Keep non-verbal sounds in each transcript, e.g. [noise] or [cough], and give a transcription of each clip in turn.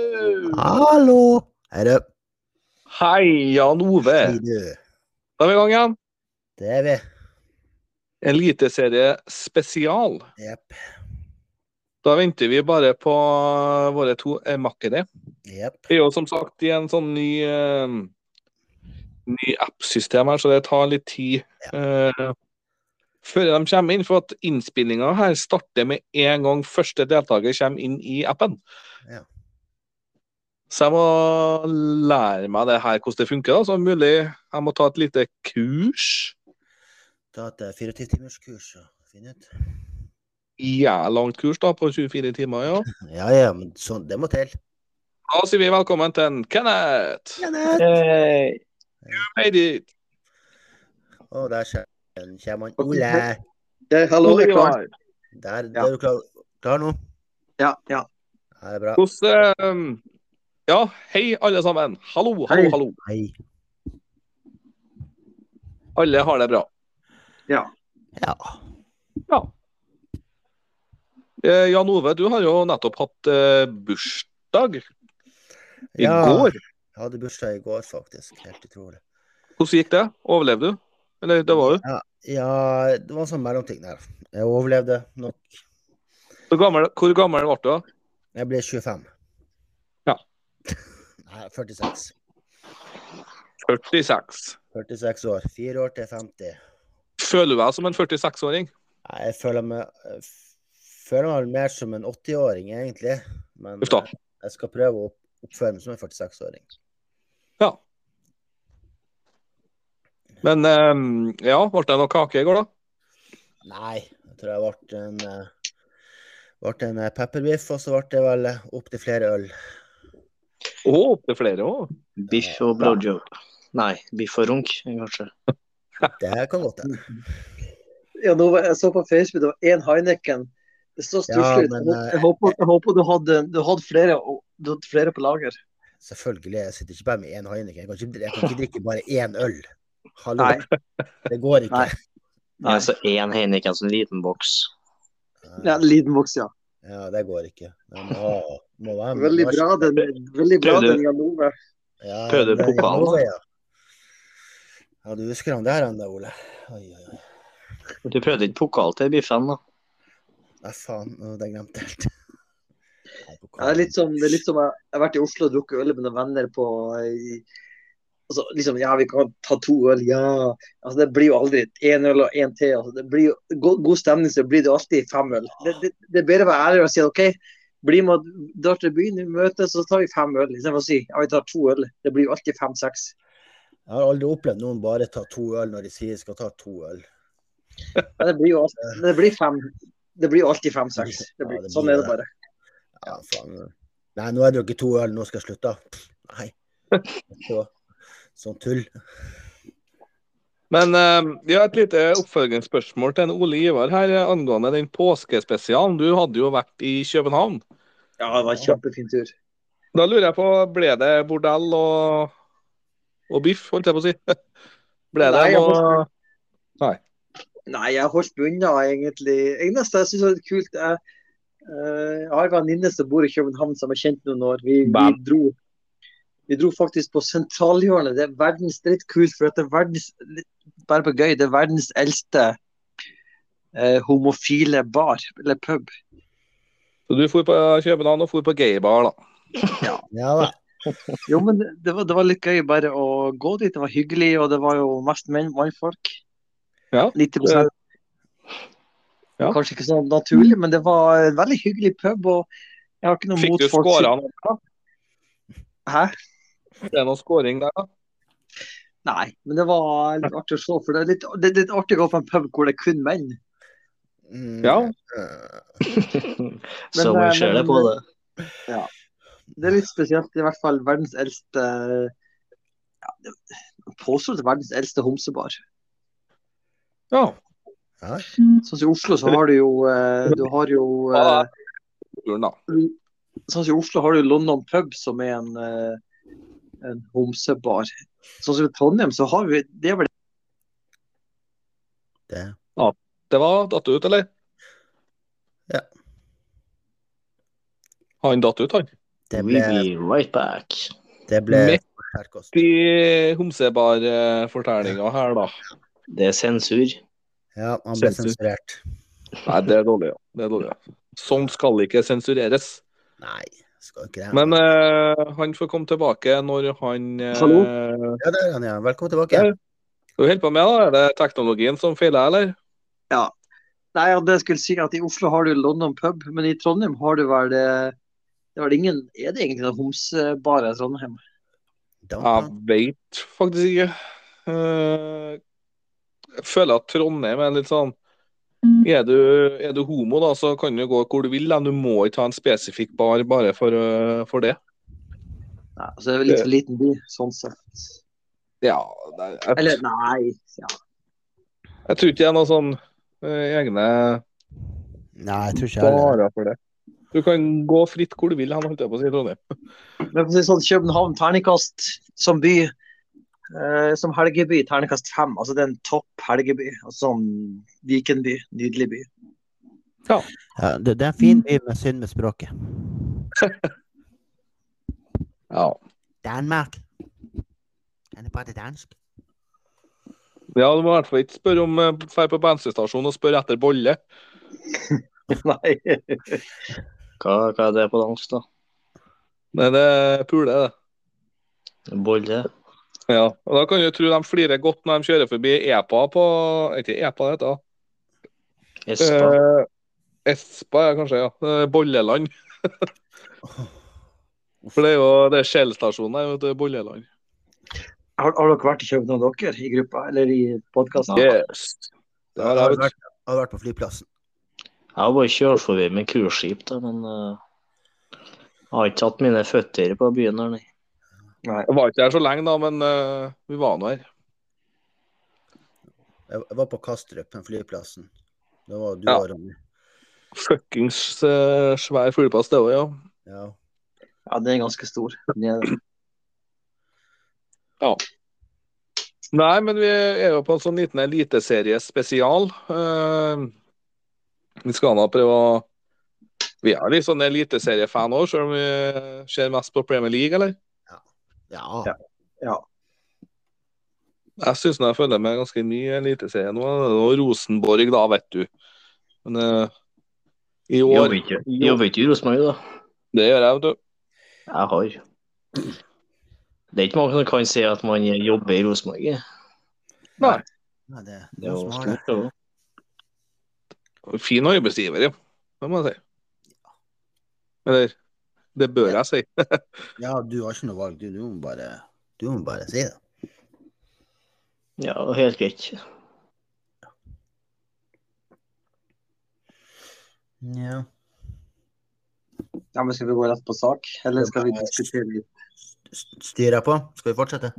Au! Hallo! Hei, du. Eh, Hei, Jan Ove. Hei, du. Da er vi i gang igjen. Det er vi. Eliteserie spesial. Jepp. Da venter vi bare på våre to eh, makkere. Jepp. Vi er jo som sagt i en sånn ny eh, ny app-system her, så det tar litt tid eh, før de kommer inn. For at innspillinga her starter med en gang første deltaker kommer inn i appen. Ja. Så jeg må lære meg det her, hvordan det funker. da, Så mulig jeg må ta et lite kurs. Ta et eh, 24-timerskurs og finne ut. Ja, langt kurs da, på 24 timer, ja. Ja, ja, men sånn, det må til. Da sier vi velkommen til en Kenneth. Kenneth! Hei. Heidi. Og der skjer- den kommer han. Ole! Der, hallo, jeg er klar. Der, der Ja. er du klar, klar nå? Ja, ja. Ja, det er bra. Hvordan eh, Ja, hei, alle sammen. Hallo, hallo, Hei. hallo. Hei. Alle har det bra. Ja. Eh, Jan Ove, du har jo nettopp hatt eh, bursdag i Ja, går. Jeg hadde bursdag i går, faktisk. Helt utrolig. Hvordan gikk det? Overlevde du? Eller det var jo Ja, det var en sånn mellomting der. Jeg overlevde nok. Hvor gammel, hvor gammel ble du? da? Jeg ble 25. Ja. [laughs] Nei, 46. 46. 46 år. Fire år til 50. Føler du deg som en 46-åring? Nei, Jeg føler meg, jeg føler meg vel mer som en 80-åring, egentlig. Men Uff da. eh, jeg skal prøve å opp- oppføre meg som en 46-åring. Men eh, ja, ble det noe kake i går, da? Nei, jeg tror jeg ble en, eh, ble en eh, pepperbiff, og så ble det vel eh, opp til flere øl. Å, opptil flere òg. Biff og blowjob. Nei, biff og runk, kanskje. Det kan godt hende. Ja, nå var, jeg så på Facebook, det var én Heineken. Det så Ja, stusslig ut. men, Jeg håper- jeg håper, jeg håper du hadde, du hadde, flere, og- du hadde flere på lager. Selvfølgelig, jeg sitter ikke bare med én Heineken. Jeg kan ikke, jeg kan ikke drikke bare én øl. Hallo. Nei. Det går ikke. Nei. Nei, så én Heineken som en liten boks. [laughs] Ja, en liten boks, ja. Ja, det går ikke. Jeg må, ha- må være med. Veldig bra den, veldig bra Prøvde- den Jan Ove. Ja, Prøvde det er pokalen, Jan Ove, da? Ja. ja, du husker han der, han der, Ole. Oi, oi, oi. Du prøvde ikke pokal til biffen, da? Nei, faen, nå hadde jeg glemt det helt. [laughs] Nei, Ja, det, er litt som, det er litt som jeg, jeg har vært i Oslo og drukket øl med noen venner på eh, i- altså, liksom, Ja, vi kan ta to øl, ja. Altså, det blir jo aldri én øl og én til. Altså, det blir jo, god, god stemning, så blir det jo alltid fem øl. Det, det, det er bedre å være ærlig og si OK, bli med og dra til byen, vi møtes, så tar vi fem øl. Istedenfor å si ja, vi tar to øl. Det blir jo alltid fem-seks. Jeg har aldri opplevd noen bare ta to øl når de sier de skal ta to øl. Men det blir jo alltid, det blir fem. Det blir jo alltid fem-seks. Det blir- Ja, det Sånn blir er det det. bare. Ja, faen. Nei, nå har jeg drukket to øl, nå skal jeg slutte. Pff, [laughs] Nei. Så, sånn tull. Men eh, vi har et lite oppfølgingsspørsmål til en Ole Ivar her eh, angående den påskespesialen. Du hadde jo vært i København. Ja, det var en kjempefin tur. Da lurer jeg på, ble det bordell og, og biff, holdt jeg på å si? [laughs] Ble det Nei, jeg noe Nei, jeg holdt meg unna, egentlig. Jeg nesten jeg synes det var litt kult. Jeg, eh, jeg har en venninne som bor i København som er kjent noen år. Vi, vi, Bam. dro, vi dro faktisk på Sentralhjørnet. Det er verdens det er litt kult, for at det er verdens litt, bare på gøy, det er verdens eldste eh, homofile bar, eller pub. Så du for på København og for på gaybar, da. Ja, vel. Jo, men det var, det var litt gøy bare å gå dit. Det var hyggelig, og det var jo mest menn, mannfolk. Ja, 90 Ja. Kanskje ikke så naturlig, men det var en veldig hyggelig pub. og jeg har ikke noe Fikk du mot folk som- skåra noe? da? Hæ? Ble Det er noe scoring der, da. Nei, men det var litt artig å se. For det er litt, det er litt artig å gå på en pub hvor det er kun menn. Mm, Ja. eh, Så eh, man ser men- det på det. Det er litt spesielt. I hvert fall verdens eldste ja, det- Påstått verdens eldste homsebar. Ja. Ja. Sånn som i Oslo, så har du jo eh, Du har jo eh, Turen, da. Sånn som i Oslo har du London pub, som er en, eh, en homsebar. Sånn som i Trondheim, så har vi Det er vel Det. Det var datt ut, eller? Ja. Han datt ut, han. Det We ble, be right back. det ble Midt skjærkost. i homsebare eh, fortellinga her, da. Det er sensur. Ja, han ble Sensur. sensurert. Nei, det er dårlig, ja. Det er dårlig, ja. Sånt skal ikke sensureres. Nei, skal ikke det. Men eh, han får komme tilbake når han eh, Hallo? ja, der er han, ja. Velkommen tilbake. Ja. Du holder på med, da? Er det teknologien som feiler, eller? Nei, ja, det skulle si at i Oslo har du London pub, men i Trondheim har du vel eh, det er vel ingen, Er det egentlig noen homsebarer i Trondheim? Jeg Downtown. veit faktisk ikke. Eh, jeg føler at Trondheim er litt sånn er du, er du homo, da, så kan du gå hvor du vil. Da. Du må ikke ha en spesifikk bar bare for, eh, for det. Nei, altså, det er vel litt for liten by, sånn sett. Ja, det, jeg, Eller nei. Ja. jeg tror ikke det er noen sånn eh, egne Nei, jeg tror ikke jeg heller. barer for det. Du kan gå fritt hvor du vil, han holdt jeg på å si, Trondheim. Men for å si det sånn, København, terningkast som by, eh, som helgeby, terningkast fem. Altså det er en topp helgeby. Altså sånn Vikenby, nydelig by. [laughs] Ja, det, det er en Mm. fin by, men synd med språket. Ja. Danmark. Kan du prate dansk? Ja, du må i hvert fall ikke spørre om eh, Fær på bensinstasjonen og spørre etter bolle. Nei. Hva, hva er det på dansk, da? Men det er pule, det. Bolle? Ja, og Da kan du tro de flirer godt når de kjører forbi EPA på Ikke EPA, det heter Espa? det. Eh, Espa, ja, kanskje. ja. Eh, Bolleland. [laughs] For det er jo det er Shell-stasjonen her, vet du. Bolleland. Har, har dere vært i København, dere, i gruppa eller i podkasten? Yes. Det har jeg, har vet vært, har vært på flyplassen. Jeg har bare kjørt forbi med cruiseskip, da, men eh, jeg har ikke hatt mine føtter på byen her, nei. Jeg var ikke her så lenge, da, men eh, vi var nå her. Jeg jeg var på Kastrup, den flyplassen. Da var du Ja. og Ronny. Fuckings eh, svær fuglepass, det òg, ja. Ja. Ja, den er ganske stor. Den er- Nei, men vi er jo på en sånn liten eliteseriespesial. Eh, vi skal nå prøve å Vi er litt sånn eliteseriefan òg, selv om vi ser mest på Premier League, eller? Ja. Ja. Ja. Jeg syns jeg følger med ganske mye i Eliteserien nå. Det er nå Rosenborg, da, vet du. Men eh, i år Jobber ikke- jobber ikke i Rosenborg, da. Det gjør jeg, vet du. Jeg har. Det er ikke mange som kan si at man jobber i Rosenborg. jeg. Nei, det, det Det er er noen som jo har det. stort, det òg. Fin arbeidsgiver, ja. Det må jeg si. Eller det bør jeg si. Ja, du har ikke noe valg. Du, du, må, bare, du må bare si det. Ja, helt greit. Ja. Ja, men Skal vi gå rett på sak, eller skal vi diskutere litt? Styrer jeg på? Skal vi fortsette?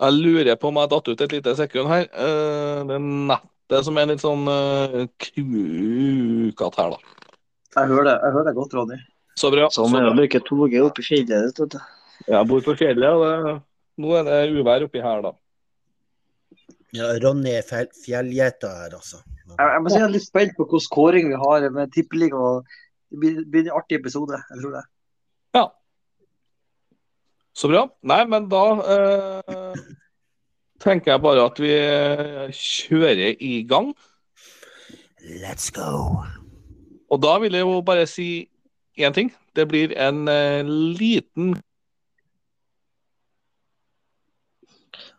Jeg lurer på om jeg datt ut et lite sekund her. Eh, det er nettet som er litt sånn uh, krukete her, da. Jeg hører det, jeg hører det godt, Ronny. Så bra. Sånn så er det å bra. bruke toget oppe i fjellet. vet du. Jeg bor på fjellet, og det, nå er det uvær oppi her, da. Ja, Ronny er fjell- fjellgjeter her, altså. Jeg, jeg må si jeg er litt spent på hvilken kåring vi har med tippeliga. Det blir, blir en artig episode, jeg tror det. Så bra. Nei, men da eh, tenker jeg bare at vi eh, kjører i gang. Let's go! Og da vil jeg jo bare si én ting. Det blir en eh, liten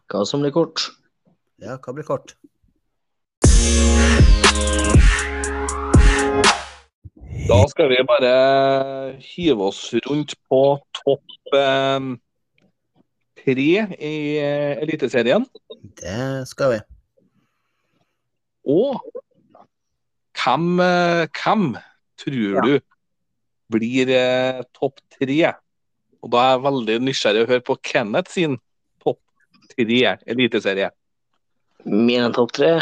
Hva som blir kort. Ja, hva blir kort? Da skal vi bare hive oss rundt på topp eh, tre i eh, Eliteserien. Det skal vi. Og hvem, eh, hvem tror du blir eh, topp tre? Og da er jeg veldig nysgjerrig å høre på Kenneth sin topp tre eliteserie. Mine topp tre?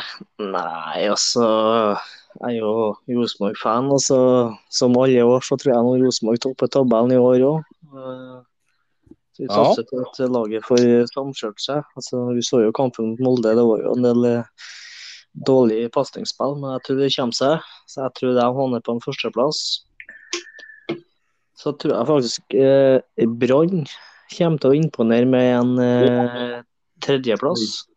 Nei, altså Jeg er jo Rosenborg-fan, og så som alle år så tror jeg nå Rosenborg topper tabellen i år òg. Vi Ja. satser på at laget får samkjørt seg. Altså, vi så jo kampen mot Molde, det var jo en del eh, dårlig pasningsspill, men jeg tror det kommer seg. Så jeg tror de havner på en førsteplass. så tror jeg faktisk eh, Brann kommer til å imponere med en eh, tredjeplass.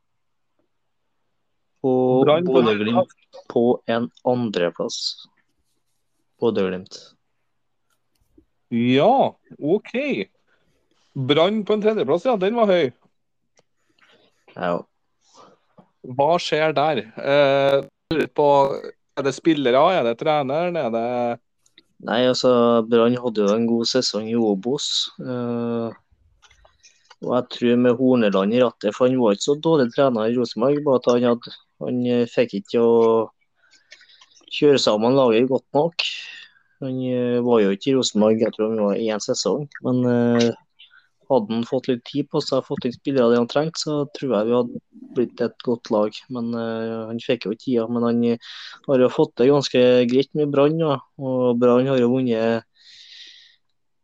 Og Brann på Bodø-Glimt på en andreplass. Bodø-Glimt. Ja, OK. Brann på en tredjeplass, ja. Den var høy. Ja. Hva skjer der? Eh, lurer på, er det spillere, er det treneren, er det Nei, altså, Brann hadde jo en god sesong i Obos. eh, og jeg tror med Horneland i rattet, for han var ikke så dårlig trener i Rosenborg. Bare at han, hadde, han eh, fikk ikke å kjøre sammen laget godt nok. Han eh, var jo ikke i Rosenborg, jeg tror han var i én sesong. Men eh, hadde han fått litt tid på seg, fått inn spillere det han trengte, så tror jeg vi hadde blitt et godt lag. Men eh, han fikk jo ikke tida. Men han eh, har jo fått det ganske greit med Brann. da. Og Brann har jo vunnet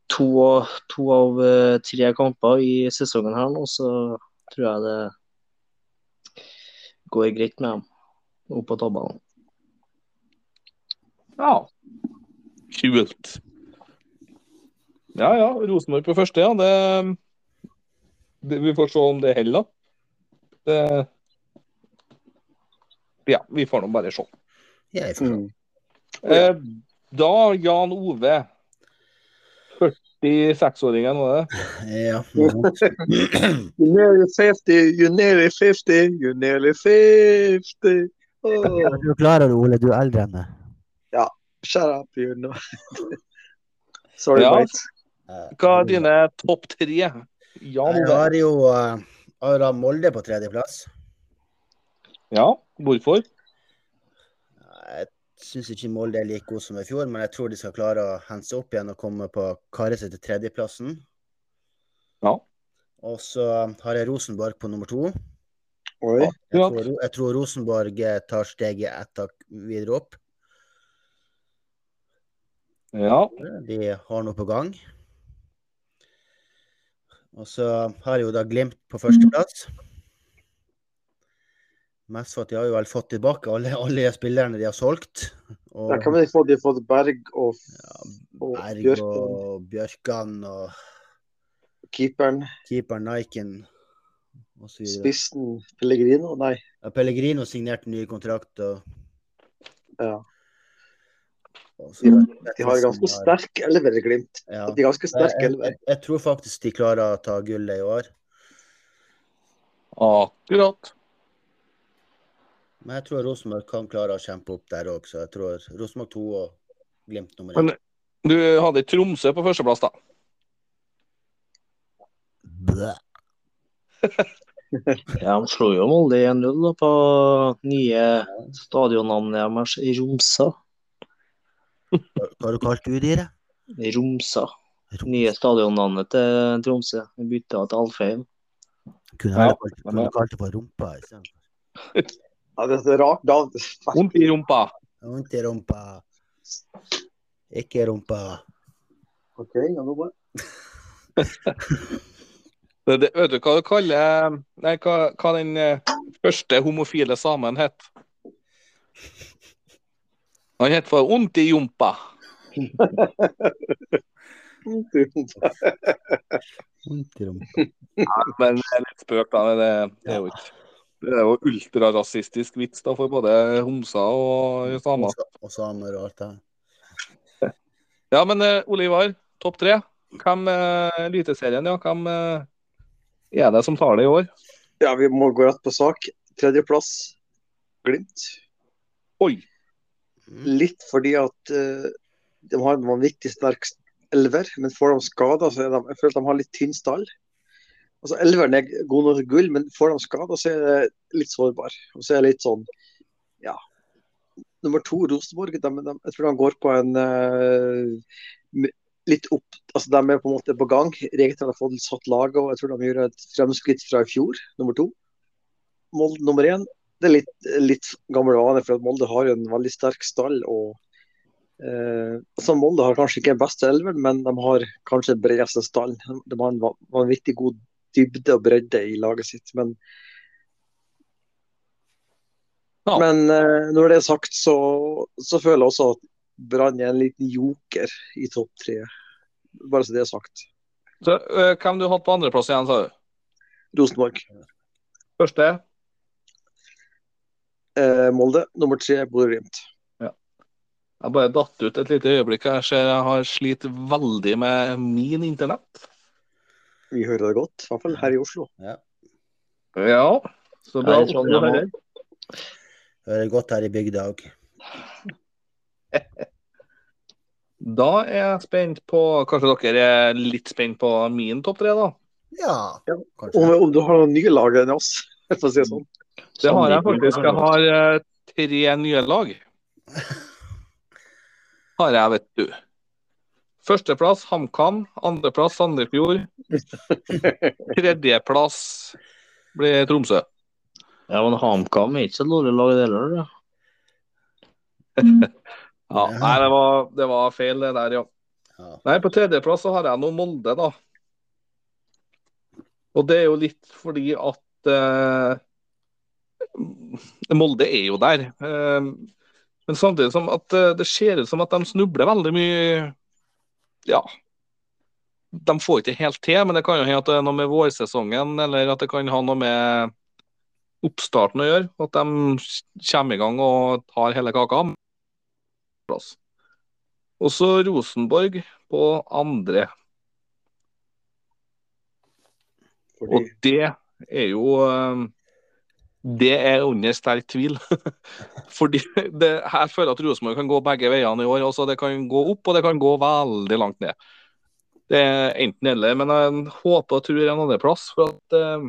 to, av- to av eh, tre kamper i sesongen her nå, så tror jeg det går greit med dem opp på tabellen. Ja. Kult. Ja ja, Rosenborg på første, ja. Det, det, vi får se om det holder, da. Det, ja, vi får nå bare se. Jeg får Mm. Mm. se. Eh, da, Jan Ove. 46-åringen, var det? Ja. ja. You're nearly 50, you're nearly 50, you're nearly 50. Oh, Du klarer det, Ole. Du er eldre enn meg. shut up, you know. Sorry, Ja. mate. Hva er dine topp tre? Jan Jeg Ove. har jo eh, har da Molde på tredjeplass. Ja, hvorfor? Jeg syns ikke Molde er like god som i fjor, men jeg tror de skal klare å hente seg opp igjen og komme på karet sitt til tredjeplassen. Ja. Og så har jeg Rosenborg på nummer to. Oi. Jeg Ja. tror, Ro- jeg tror Rosenborg eh, tar steget ett tak videre opp. Ja. De har noe på gang. Og så har jo da Glimt på Mm. førsteplass. Mest for at de har jo vel fått tilbake alle, alle de spillerne de har solgt. Og Da kan vi få, de har fått Berg og, og Berg Bjørkan, og Bjørkan og keeperen, keeperen Niken osv. spissen Pellegrino. Nei, Pellegrino signerte ny kontrakt. Og, Ja. Og så- de, de har ganske sterk elver i Glimt. Ja. De er ganske Jeg, sterk jeg, elver. jeg- jeg tror faktisk de klarer å ta gullet i år. Akkurat. Men jeg tror Rosenborg kan klare å kjempe opp der òg, så jeg tror Rosenborg 2 og Glimt nummer Men- én. Du hadde Tromsø på førsteplass, da. Blæ. Ja, de slo jo Molde 1-0 da på nye stadionnavnet deres, Romsa. Hva hva har du kalt udyret? Romsa. Nye stadionnavnet til Tromsë. Vi bytta til Alfheim. Kunne Ja, heller kalt- men- kunne du kalt det for rumpa istedenfor. Ja, det er et rart navn. Vondt i rumpa. Vondt i rumpa. Ikke rumpa. Ok, ja, nå bare. Det, det, vet du hva du kaller Nei, hva, hva den eh, første homofile samen het? Han het for Ondt i jompa. Vondt i rumpa. Men det er litt spøk, da. men Det, det er jo ikke Det er jo ultrarasistisk vits da for både homser og Og samer. sa- Og samer og alt det her. Ja, men eh, Ole Ivar, topp tre. Hvem eh, Eliteserien, ja. Hvem eh, er det som tar det i år? [laughs] Ja, vi må gå rett på sak. Tredjeplass, Glimt. Oi! Litt fordi at eh, de har en vanvittig sterk elver, men får de skader, så er de, jeg føler at de har litt tynn stall. Altså, elveren er god nok til gull, men får de skader, så er det litt sårbar. Og så er det litt sånn, ja. Nummer to, Rosenborg, de, de, jeg tror de går på en eh, m- litt opp Altså, de er på en måte på gang. Regeltene har fått satt laget, og jeg tror de gjør et fremskritt fra i fjor, nummer to. Molde nummer én det er litt, litt gammel vane, for at Molde har jo en veldig sterk stall. og eh, altså Molde har kanskje ikke den beste elveren, men de har kanskje den bredeste stallen. De har en va- vanvittig god dybde og bredde i laget sitt. Men, Ja. men eh, når det er sagt, så, så føler jeg også at Brann er en liten joker i topp tre. Bare så det er sagt. Så, øh, hvem du hadde på andreplass igjen, sa du? Rosenborg. Første? Eh, Molde. Nummer tre Bodø-Glimt. Jeg bare datt ut et lite øyeblikk. Jeg ser jeg har slitt veldig med min internett. Vi hører det godt, i hvert fall her i Oslo. Ja, så bra. Ja, det er sånn det er. Hører godt her i bygda òg. Da er jeg spent på Kanskje dere er litt spent på min topp tre, da? Ja, Ja, Om, kanskje. om du har noen nye lag enn oss, [laughs] for å si det sånn. Det har jeg faktisk. Jeg har eh, tre nye lag. [laughs] Har jeg, vet du. Førsteplass HamKam. Andreplass [laughs] Sandefjord. Tredjeplass blir Tromsø. Ja, men HamKam er ikke så dårlig lag, det heller. da. Ja, Ja. nei, det var, det var feil, det der, ja. Ja. Nei, på tredjeplass så har jeg nå Molde, da. Og det er jo litt fordi at eh, Molde er jo der. Eh, men samtidig som at eh, det ser ut som at de snubler veldig mye Ja. De får ikke helt til, men det kan jo hende at det er noe med vårsesongen eller at det kan ha noe med oppstarten å gjøre. At de kommer i gang og tar hele kaka plass. Og så Rosenborg på andre. Fordi, Og det er jo eh, Det er under sterk tvil. [laughs] Fordi det, her føler jeg at Rosenborg kan gå begge veiene i år. Altså det kan gå opp, og det kan gå veldig langt ned. Det er enten eller. Men jeg håper og tror en andreplass. For at eh,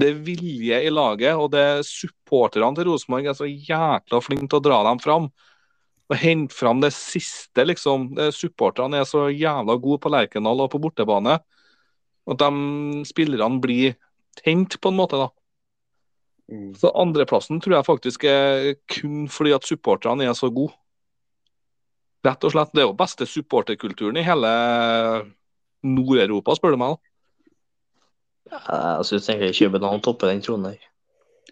det er vilje i laget, og det er supporterne til Rosenborg er så jækla flinke til å dra dem fram. Og hente fram det siste, liksom. Det- Supporterne er så jævla gode på Lerkendal og på bortebane. At de spillerne blir tent, på en måte. da. Mm. Så andreplassen tror jeg faktisk er kun fordi at supporterne er så gode. Rett og slett. Det er jo beste supporterkulturen i hele Nord-Europa, spør du meg. da. Ja, Jeg syns egentlig København topper den tronen her.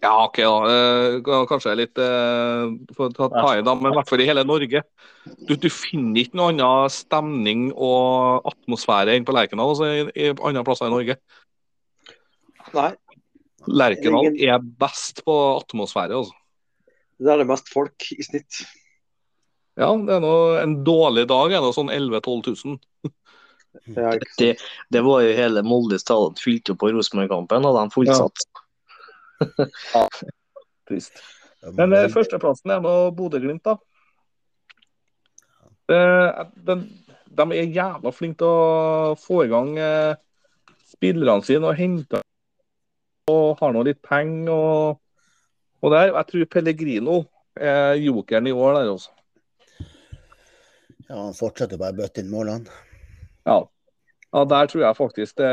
Ja, OK, da. Eh, k- Kanskje litt eh, for å ta, ta i, da, men i hvert fall i hele Norge. Du, du finner ikke noe annen stemning og atmosfære enn på Lerkendal, altså i, i andre plasser i Norge. nei, Lerkendal er best på atmosfære, altså. det er det mest folk i snitt. Ja, det er nå en dårlig dag, er det sånn 11 000-12 000. Det er ikke Det, det var jo hele Molde stadion fylt opp på Rosenborg-kampen, og de fullsatt. Trist. Ja, Men eh, Molde- førsteplassen er nå Bodø-Glimt, da. Eh, den, de er jævla flinke til å få i gang eh, spillerne sine og hente og har nå litt penger og, og der. Jeg tror Pellegrino er jokeren i år der, altså. Ja, han fortsetter bare å bøtte inn målene. Ja. ja, der tror jeg faktisk det,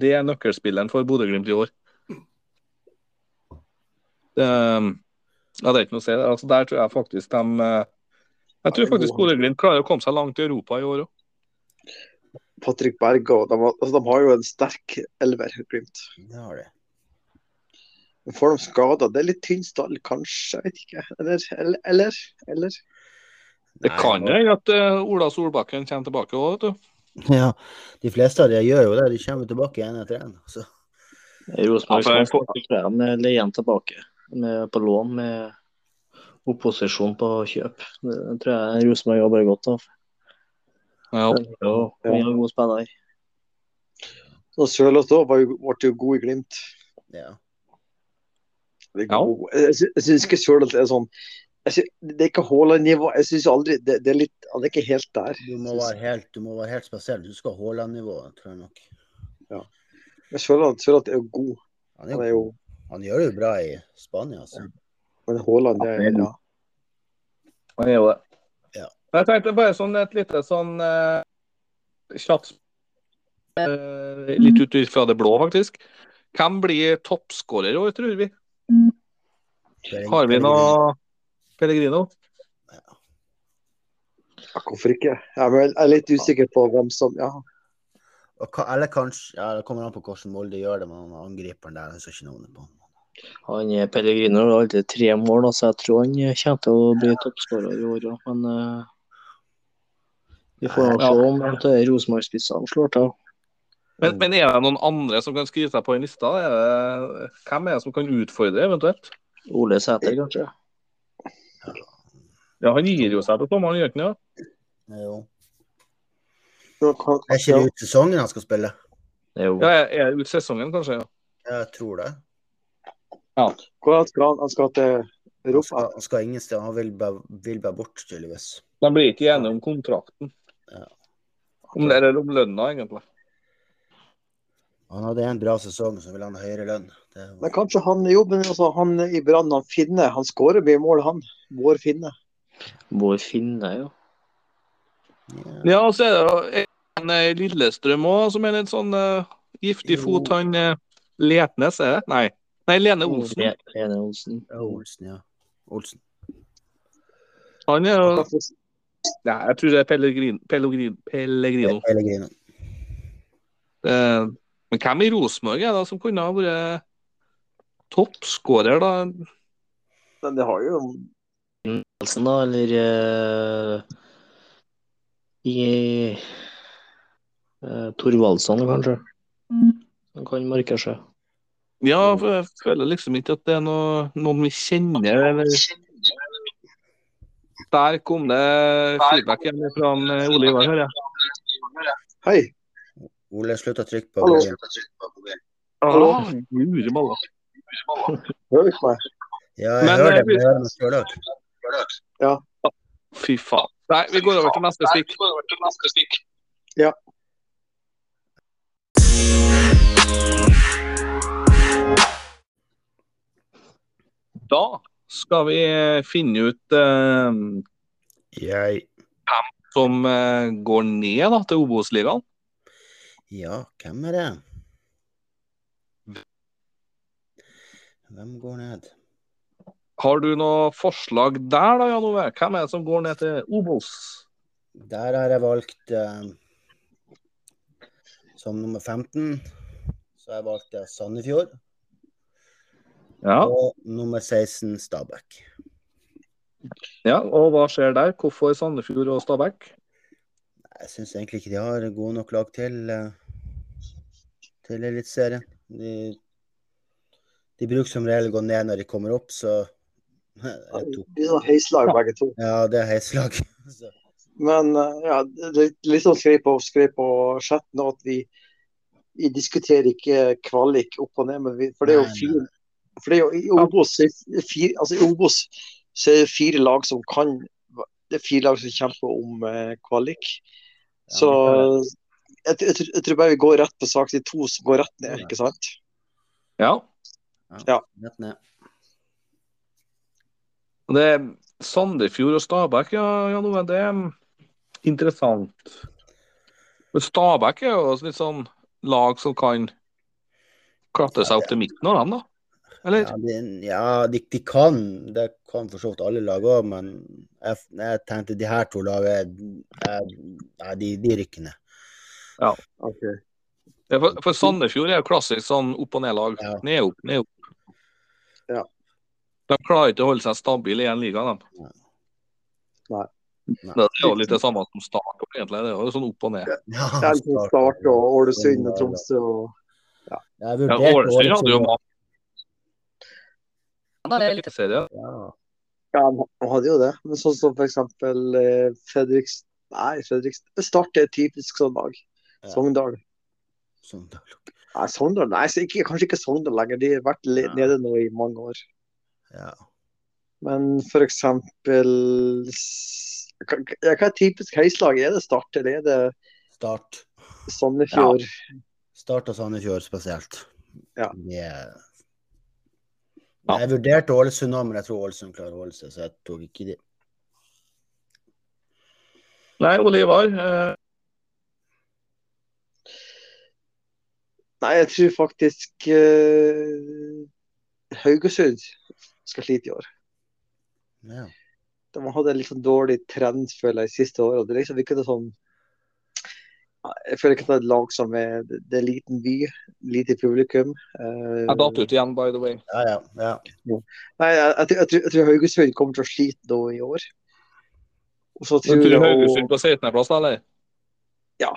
det er nøkkelspilleren for Bodø-Glimt i år. Det, ja, det er ikke noe å si. Altså, der tror jeg faktisk de eh, Jeg tror faktisk Bodø-Glimt klarer å komme seg langt i Europa i år òg. Patrick Berge og de, har- altså, de har jo en sterk elver, Glimt. Det har det. Men Får de skader? Det er litt tynn stall, kanskje? Jeg vet ikke. Eller, eller, eller, eller. Det Nei, kan Molde- jo hende at eh, Ola Solbakken kommer tilbake òg, vet du. Ja, de fleste av de gjør jo det. De kommer tilbake igjen etter en. altså. Så. Rosenborg Ja, for- skal snakke frem med Leien tilbake med, på lån med opposisjon på kjøp. Det tror jeg Rosenborg har bare godt av. Ja. Det er jo mye gode spillere. Så Sørloth òg ble jo god i Glimt. Ja. Det er Ja. god. Jeg sy- jeg syns ikke Sørloth er sånn jeg sy- Det er ikke Haaland-nivå. Jeg syns aldri det, det er litt Han er ikke helt der. Du må være helt, du må være helt spesiell. Du skal ha Haaland-nivået, tror jeg nok. Men Sørloth Sørloth er jo god. Han, Han er er jo, jo han gjør det jo bra i Spania, altså. Men Haaland, det er ja. Han er jo det. Ja. Jeg tenkte bare sånn et lite sånn eh, kjapt eh, Litt ut fra det blå, faktisk. Hvem blir toppskårer i år, tror vi? Har vi noe Pellegrino? Ja, Hvorfor ikke? Jeg er vel- jeg er litt usikker på hvem som Ja. Og ka- Eller kanskje ja, Det kommer an på hvordan Molde gjør det, men han angriperen der jeg husker ikke navnet på. han. Han eh, Pellegrino har alltid tre mål, så altså jeg tror han eh, kommer til å bli toppskårer i år òg. Men eh, Vi får nå Ja. se om at det er Rosenborg-spissene slår til. Men, men er det noen andre som kan skrive seg på den lista? Er det, hvem er det som kan utfordre, eventuelt? Ole Sæter, kanskje. Ja, Han gir jo seg på sommeren, gjør han ikke det? Jo. Ja, hva- Er ikke det ut sesongen han skal spille? Jo. Ja, er- er det ut sesongen, kanskje? ja. Jeg tror det. hva skal han? Han skal til Han Europa? skal, han skal ingen sted. Han vil bare, vil bare bort, tydeligvis. De blir ikke enige om kontrakten. Ja. Om det eller om lønna, egentlig. Han hadde en bra sesong, så ville han ha høyere lønn. Det Men kanskje han i jobben altså, Han i Brann, han Finne, han skårer mye mål, han. Vår Finne. Bård Finne, jo. Ja, og så er det jo en eh, Lillestrøm òg, som er litt sånn eh, giftig fot. Han eh, Letnes, er det? Nei. Nei, Lene Olsen. Le- Lene Olsen. Ja, Olsen, ja. Olsen. Han er jo Nei, jeg tror det er Pellegrin, Pellegrin, Pellegrino. Pellegrino. Eh, men hvem i Rosenborg er det som kunne ha vært toppskårer, da? Men det har jo Olsen, da, eller eh, i eh, Thorvaldsson, kanskje. Han kan markere seg. Mm. Ja, for jeg føler liksom ikke at det er noe, noen vi kjenner, eller Der kom det feedback igjen fra han, eh, Ole Ivar, hører jeg. Hei. Ole, slutt å trykke på Hallo. mobilen. Ah, guri malla. Hører du ikke meg? Ja, jeg Men, hører eh, det. Men jeg hører meg selv også. Fy faen. Nei, vi går over til neste stikk. Da skal vi finne ut eh, Jeg... som eh, går ned da, til Obos-ligaen. Ja, hvem er det? Hvem går ned? Har du noe forslag der, da, Jan Ove? Hvem er det som går ned til Obos? Der har jeg valgt eh, som nummer 15. Så har jeg valgt eh, Sandefjord. Ja, Og nummer 16 Stabæk. ja, og hva skjer der? Hvorfor Sandefjord og Stabæk? Jeg syns egentlig ikke de har gode nok lag til, eh, til Eliteserien. De, de bruker som regel å gå ned når de kommer opp, så [laughs] jeg tok, De er sånn heislag, begge to. Ja, det er heislag. [laughs] Så, Men eh, ja, det er litt sånn skrev på, skrev på chatten at vi, vi diskuterer ikke kvalik opp og ned, men vi, for det er jo Nei, nei. fire For det er jo i Obos så er det fire, altså i Obos så er det fire lag som kan Det er fire lag som kjemper om eh, kvalik. Ja, Så jeg, jeg, tror- jeg tror bare vi går rett på sak. De to som går rett ned, ikke sant? Ja, Ja. rett ned. og det er Sandefjord og Stabæk, ja, Jan Ove. Det er interessant. Men Stabæk er jo også litt sånn lag som kan klatre seg opp til midten av dem, da. Eller? Ja, de, ja de, de kan. Det kan for så vidt alle lag òg, men jeg, jeg tenkte de her to lagene jeg, ja, de, de rykker [laughs] ned. Ja, For, for Sandefjord er jo klassisk sånn opp og ned-lag. Ja. Ned, opp, ned, opp. Ja. De klarer ikke å holde seg stabile i én liga, de. Nei. Nei. Det er jo litt det samme som Start, egentlig. Det er jo sånn opp og ned. Ja, Det er liksom Start og Ålesund og Tromsø og Jeg Ja, vurderte Ålesund hadde jo Ålesund. mange Det er Eliteserien. Ja. Ja, han hadde jo det. Men sånn som for eksempel eh, Fredriks... Nei, Fredriks Start er et typisk sånn lag. Ja. Sogndal. Sånn, da. Nei, Sogndal, nei så ikke, kanskje ikke Sogndal lenger. De har vært li- Ja. nede nå i mange år. Ja. Men for eksempel s- Hva ja, hva er typisk heislag? Er det Start, eller er det Start. Sandefjord? Start og Sandefjord spesielt. Ja. De er- Ja. Jeg vurderte Ålesund òg, men jeg tror Ålesund klarer å holde seg, så jeg tok ikke de. Nei, Ole Ivar. eh, Nei, jeg tror faktisk eh, Haugesund skal slite i år. Ja. de har hatt en litt sånn dårlig trend føler jeg, de siste årene. Det er liksom ikke noe sånn Jeg føler ikke at det er et lag som er Det er en liten by, lite publikum. Eh, Jeg datt ut igjen, by the way. Ja, ja, ja. Nei, jeg, jeg, tror- jeg, tror- jeg tror Haugesund kommer til å slite nå i år. Og så Men tror tror du jeg Haugesund på 16.-plass, eller? Ja.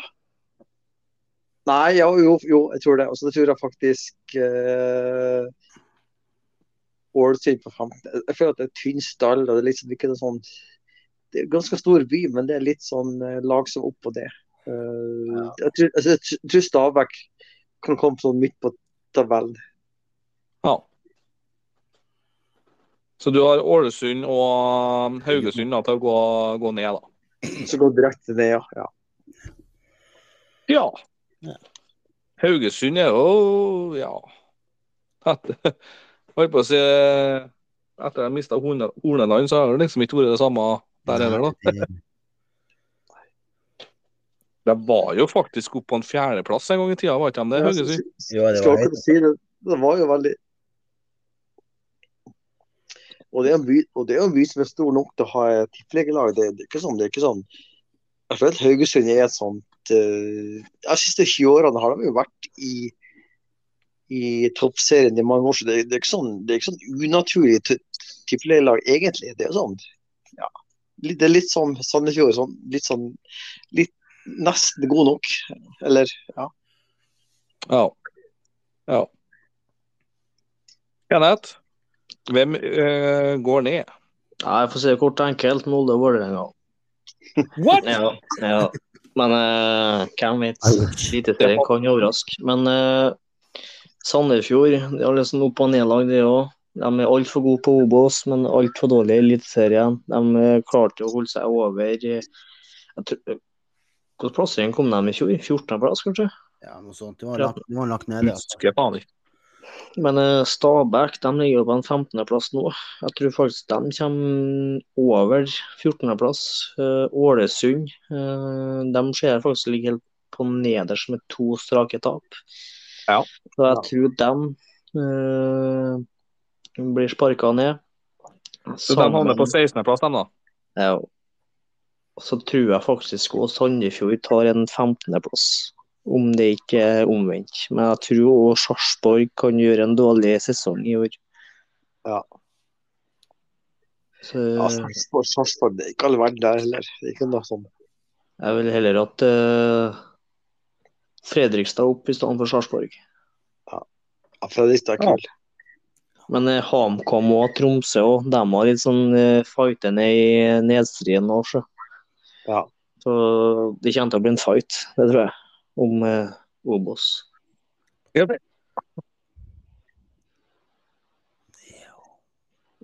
Nei, ja, jo, jo, jeg tror det. Og så tror jeg faktisk eh, Ålesund på femte. Jeg føler at det er tynn stall. og Det er liksom ikke noe sånn Det er en ganske stor by, men det er litt sånn eh, lag som oppå det. Eh, jeg, tror, altså, jeg tror Stabæk kan komme sånn midt på tabellen. Ja. Så du har Ålesund og um, Haugesund da, til å gå, gå ned, da. Så går det direkte ned, ja. ja. Ja. Haugesund er jo Ja. Etter, [laughs] holdt på å si Etter at de mista Horneland, så har det liksom ikke vært det samme der heller, da. De var jo faktisk oppe på en fjerdeplass en gang i tida, var ikke de det? Haugesund? Jo, det Skal var akkurat si det. Det var jo veldig Og det er en by, og det er en by som er stor nok til å ha et tippelegelag. Det, det er ikke sånn. det er ikke sånn. Jeg føler at Haugesund er et sånt eh, De siste 20 årene har de jo vært i i toppserien i mange år, så det, det, er ikke sånn, det er ikke sånn unaturlig t- tippelegelag, egentlig. Det er jo sånn ja, litt- Det er litt sånn Sandefjord. Sånn, litt sånn litt, Nesten god nok. Eller ja. Ja. ja. Kenneth, hvem eh, går ned? Ja, jeg får si det kort og enkelt. Molde og Vålerenga. What?! Ja, ja. Men eh, hvem vet? Eliteserien kan jo overraske. Men eh, Sandefjord de har liksom opp- og nedlag, de òg. De er altfor gode på Obos, men altfor dårlige i Eliteserien. De eh, klarte å holde seg over eh, jeg tror, eh, Hvilken plassering kom de i fjor? 14.-plass, kanskje? Ja, noe sånt. Det var lagt, det var lagt nede. Altså. Husker faen ikke. Men eh, Stabæk de ligger jo på en 15.-plass nå. Jeg tror faktisk de kommer over 14.-plass. Eh, Ålesund eh, de ser jeg faktisk ligger helt på nederst med to strake tap. Ja. Så jeg tror de eh, blir sparka ned. Så Sånn, de havner på 16.-plass, de, da? Ja. Eh, Og så tror jeg faktisk også Sandefjord tar en 15.-plass, om det ikke er omvendt. Men jeg tror også Sarpsborg kan gjøre en dårlig sesong i år. Ja. Så Ja, Sarpsborg, Sarpsborg, det er ikke all verden der heller. Det er ikke noe sånn. jeg vil heller at eh, Fredrikstad opp i stedet for Sarpsborg. Ja, Fredrikstad er kul. Men eh, HamKam og Tromsø òg, de har litt sånn eh, fighter ned i nedstriden nå, så. Ja. Så det kommer til å bli en fight, det tror jeg, om eh, Obos.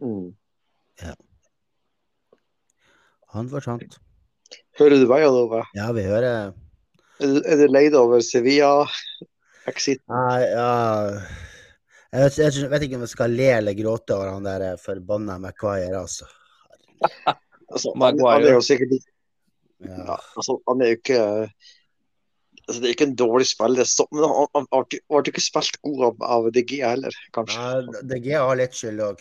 Mm. Han forsvant. Hører du veien over? Ja, vi hører Er du- Er du leid over Sevilla? Exit? Nei, ja Jeg vet, jeg vet ikke om jeg skal le eller gråte over han der eh, forbanna Maguire, altså. Altså, han, Maguire. han er jo sikkert ikke ja, Ja. altså, Han er jo ikke altså, Det er ikke en dårlig spiller, så- men han han- han ble ble ikke spilt god av, av DG heller, kanskje. Nei, DG har litt skyld òg.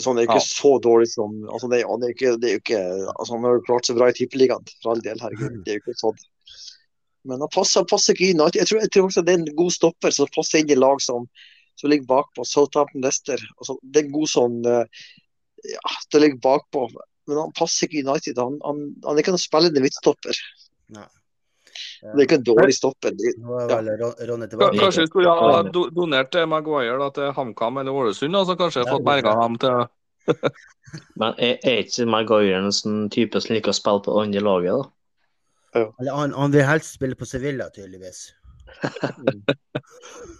Så han Sånn, er jo ikke så dårlig som altså, det, er- han, er jo ikke, det er jo ikke, altså, han har jo klart seg bra i Tippeligaen, for all del. Herregud, det er jo ikke sånn. Men han passer, han passer ikke inn. og Jeg tror, jeg tror også det er en god stopper som passer inn i lag som, som ligger bakpå. Southampton Leicester. Altså, det er en god sånn eh, Ja, det ligger bakpå. Men han passer ikke i United. Han, han, han er ikke noen spillende midtstopper. Nei. Det er ikke en dårlig stopper. Det, Nå er Ja. vel Ron- Ronny Ka- tilbake. Kanskje vi skulle ha do- donert eh, Maguire da, til HamKam eller Ålesund, da, så kanskje jeg har fått berga ham til Men er er ikke Maguire en sånn type som liker å spille på det andre laget, da? Eller Han, han vil helst spille på Sevilla, tydeligvis. ja,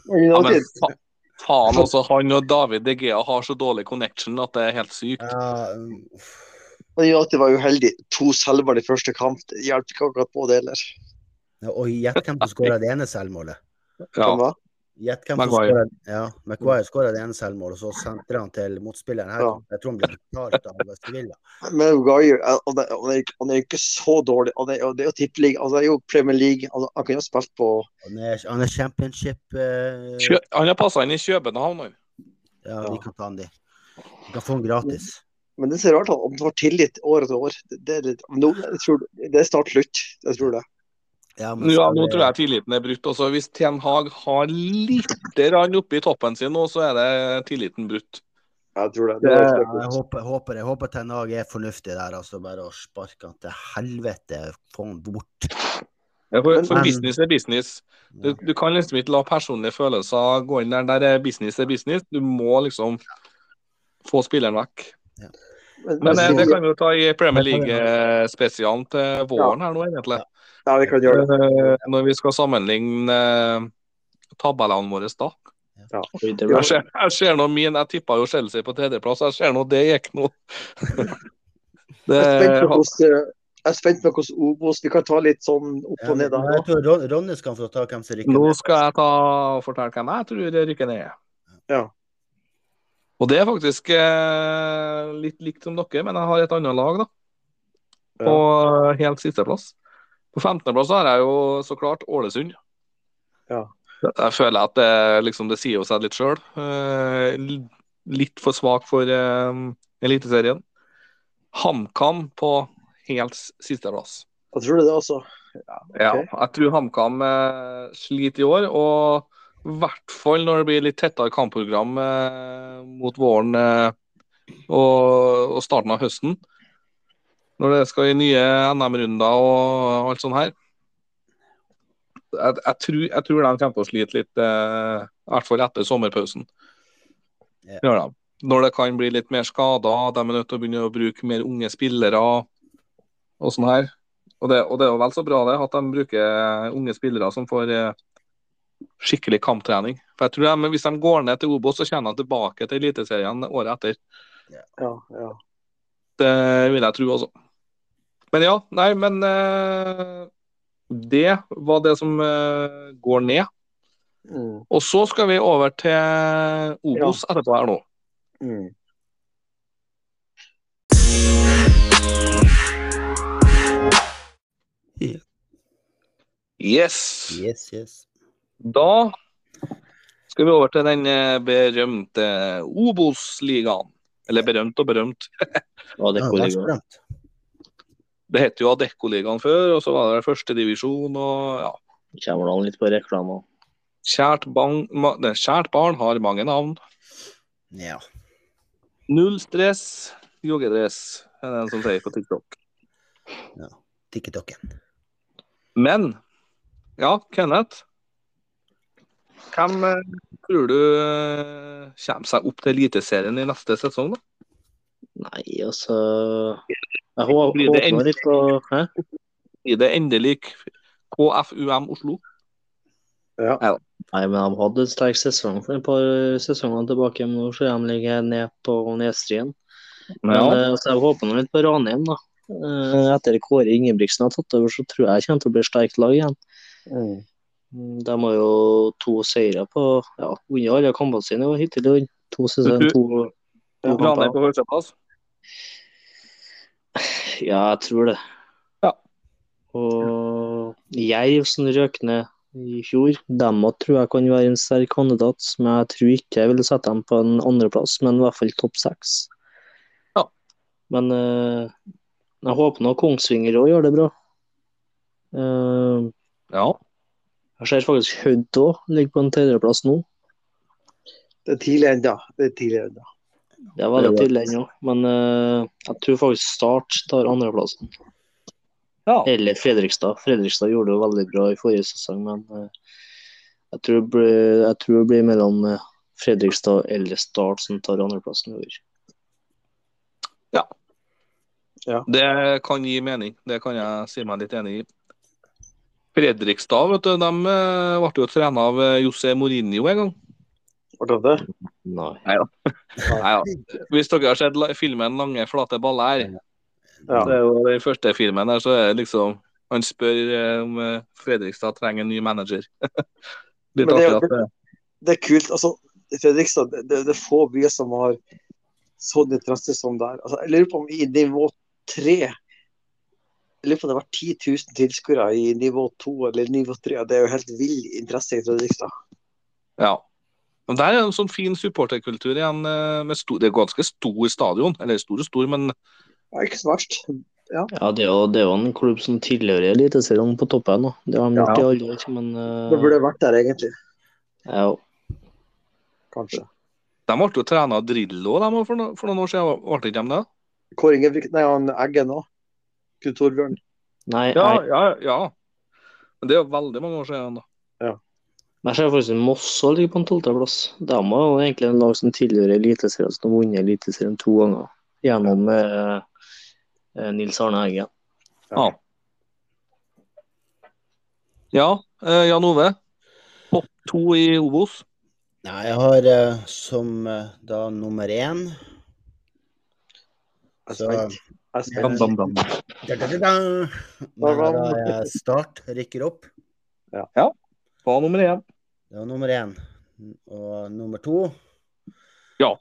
men, United, fa Faen, altså. Han og David De Gea har så dårlig connection at det er helt sykt. Ja, uff. United var uheldig. To selvmål i første kamp. Det hjelper ikke akkurat på det heller. Ja, Og gjett hvem som skåra det ene selvmålet. Ja. Hvem var? Gjett hvem som Maguire. skåret- Ja, Maguire skåra det ene selvmålet, og så sentrer han til motspilleren her. Ja. Jeg tror han blir betalt av Sevilla. Men eh, Guyer, han er, han er, ikke- han er jo ikke så dårlig. Han er, det er jo tippeliga, altså, det er jo Premier League. Altså, han kunne jo spilt på Han er, han er championship eh, Kjø han har passa inn i København, han. Ja, vi kan ta han dit. Vi kan få han gratis. Men det er så rart at han får tillit år etter år. Det, det, er litt, nå, jeg tror, det er snart slutt. Jeg tror det. Ja, men Ja, skal nå vi- tror jeg tilliten er brutt. Også. Hvis Ten Hag har lite grann oppi toppen sin nå, så er det tilliten brutt. Jeg tror det. Ja, det er Jeg ekstra kult. håper, håper, jeg håper Ten Hag er fornuftig der, altså. Bare å sparke han til helvete. Få han bort. Ja, for, for Men- business er business. Du, du kan liksom ikke la personlige følelser gå inn der. Der er business er business. Du må liksom få spilleren vekk. Men eh, det kan vi jo ta i Premier League-spesialen til våren her nå, egentlig. Ja, vi kan gjøre det. Eh, Når vi skal sammenligne eh, tabellene våre da. Oi, det Jeg var- ser, jeg ser nå min, jeg tippa jo Chelsea på tredjeplass. Jeg ser nå det gikk nå. Det, Jeg er spent på hvordan- jeg er spent på hvordan Obos Vi kan ta litt sånn opp Ja, og ned. men da. jeg tror Ron- Ronny skal få ta hvem som rykker nå ned. skal jeg ta og fortelle hvem jeg tror rykker ned. Ja. Og det er faktisk eh, litt likt som dere, men jeg har et annet lag, da. På eh, helt sisteplass. På 15.-plass har jeg jo så klart Ålesund. Ja. Jeg føler at det, liksom, det sier jo seg litt sjøl. litt for svak for eh, Eliteserien. HamKam på helt s- sisteplass. Jeg tror det, altså. Ja, Ok. jeg tror HamKam eh, sliter i år, og i hvert fall når det blir litt tettere kampprogram eh, mot våren eh, og, og starten av høsten. Når det skal i nye NM-runder og alt sånt her. Jeg, jeg, tror, jeg tror de kommer til å slite litt, eh, i hvert fall etter sommerpausen. Ja. Gjør de. Når det kan bli litt mer skader, de er nødt til å begynne å bruke mer unge spillere og sånn her. Og det, og det er jo vel så bra det, at de bruker eh, unge spillere som får eh, skikkelig kamptrening. For jeg tror de, Hvis de går ned til Obos, så kommer de tilbake til Eliteserien året etter. Ja, ja. Det vil jeg tro, altså. Men ja, nei, men eh, Det var det som eh, går ned. Mm, Og så skal vi over til eh, Obos etterpå her nå. mm. Yes! Yes, yes. Da skal vi over til den eh, berømte Obos-ligaen. Eller berømt og berømt. Å, det Ja, er kollega. verdensberømt. Det het jo Adeccoligaen før, og så var det førstedivisjon og ja. Kommer da litt på reklame. Kjært, bang, ma, nei, kjært barn har mange navn. Ja. Null stress, joggedress, er det en som sier på TikTok. TikToken. Men ja, Kenneth. Hvem eh, tror du eh, kommer seg opp til Eliteserien i neste sesong, da? Nei, altså Jeg hå- Blir det håper en- litt på Hæ? Blir det endelig KFUM Oslo? ja. Nei, men de hadde en sterk sesong for et par eh, sesonger tilbake. Men nå ser de ligger ned på nedstrien. Men Ja. eh, altså, jeg håper nå litt på Ranheim, da. Eh, Etter Kåre Ingebrigtsen har tatt over, så tror jeg kommer til å bli et sterkt lag igjen. Mm. Mm, De har jo to seire på ja, under alle kampene sine og hittil i år. To sesong, Du- to, to Ranheim kamper. på førsteplass. Ja, jeg tror det. Ja. Og Jerv som røk ned i fjor, dem òg tror jeg kan være en sterk kandidat. Men jeg tror ikke jeg ville sette dem på en andreplass, men i hvert fall topp seks. Ja. Men eh, jeg håper nå Kongsvinger òg gjør det bra. Eh, Ja. jeg ser faktisk Hødd òg ligger på en tredjeplass nå. Det er tidlig ennå. Det er tidlig ennå. Det er veldig Det er tidlig ennå, men eh, jeg tror faktisk Start tar andreplassen. ja. Eller Fredrikstad. Fredrikstad gjorde det veldig bra i forrige sesong, men eh, jeg, tror det blir, jeg tror det blir mellom eh, Fredrikstad eller Start som tar andreplassen i år. Det kan gi mening. Det kan jeg si meg litt enig i. Fredrikstad vet du, de eh, ble jo trena av eh, José Mourinho en gang. Var det det? Nei. Nei, ja. Hvis dere har sett la- filmen 'Lange, flate baller', Ja. det er jo den første filmen der, så er det liksom Han spør eh, om eh, Fredrikstad trenger en ny manager. [laughs] Litt Men det er artig jo- at det Det er kult. Altså, Fredrikstad, det, det, det er få byer som har sånn interesse som det er. Altså, jeg lurer på om i nivå tre jeg lurer på om det har vært 10 000 tilskuere i nivå 2 eller nivå 3. Det er jo helt vill interesse i Fredrikstad. Ja. Men der er det en sånn fin supporterkultur igjen. eh, Med stor, det er ganske stor stadion. Eller stor og stor, men Det er ikke så verst. Ja, det er, jo, det er jo en klubb som tilhører Eliteserien på toppen. Da. Det har de gjort Ja. i alle år, men eh, Det burde vært der, egentlig. ja, Kanskje. De ble jo trena av Drillo de, også for, no for noen år siden, ble ikke de det? Kåre Ingebrigtsen, nei, han Eggen òg. Knut Torbjørn. [laughs] Nei, Ja, nei. ja, ja. Men det er jo veldig mange år siden. da. Men jeg ser faktisk at Moss også ligger på en tolvteplass. De var jo egentlig en lag som tidligere i Eliteserien, som har vunnet Eliteserien to ganger. Gjennom eh, eh, Nils Arne Eggen. Ja, eh, Jan Ove. Topp to i Obos. Nei, jeg har eh, som eh, da nummer én Jeg er Så- spent. Jeg er Bam, spent. bam, bam. da, da, da, da. Når da eh, Start rykker opp. Hva er nummer én? Det var nummer én. Og nummer to Ja.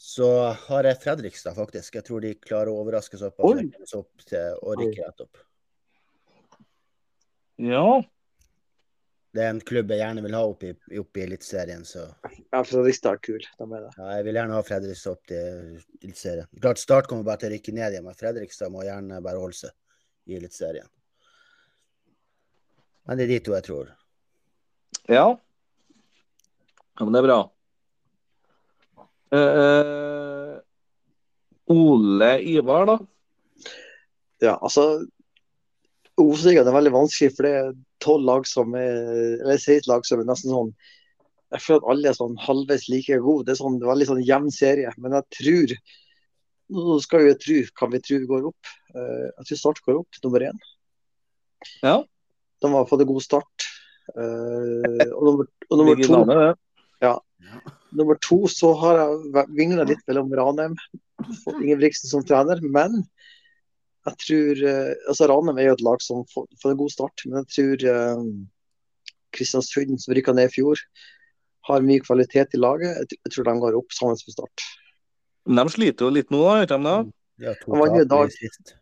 Så har jeg Fredrikstad, faktisk. Jeg tror de klarer å overraske såpass Oi. at de kommer seg opp til å rykke rett opp. Ja. Det er en klubb jeg gjerne vil ha opp i, opp i Eliteserien, så Ja, Fredrikstad er kul. De er det. ja, jeg vil gjerne ha Fredrikstad opp til Eliteserien. Klart Start kommer bare til å rykke ned igjen, men Fredrikstad må gjerne bare holde seg i Eliteserien. Men det er de to jeg tror. Ja. ja men det er bra. Eh, Ole Ivar, da? Ja, altså Obos-ligaen er veldig vanskelig, for det er tolv lag som er Eller 16 lag som er nesten sånn Jeg føler at alle er sånn halvveis like gode. Det er sånn det er veldig sånn jevn serie. Men jeg tror Nå skal vi jo tro, kan vi tro vi går opp. Eh, Jeg tror Start går opp, nummer én. Ja. De har fått en god start. Eh, Og nummer, og nummer Ligger i to navnet, det. Nummer to så har jeg vingla litt mellom Ranheim og Ingebrigtsen som trener, men jeg tror eh, altså Ranheim er jo et lag som får, får en god start, men jeg tror eh, Kristiansund, som rykka ned i fjor, har mye kvalitet i laget. Jeg, tr- jeg tror de går opp sammen med Start. Men de sliter jo litt nå, da. Gjør de det? De har to Han vant jo i tap dag. i sist.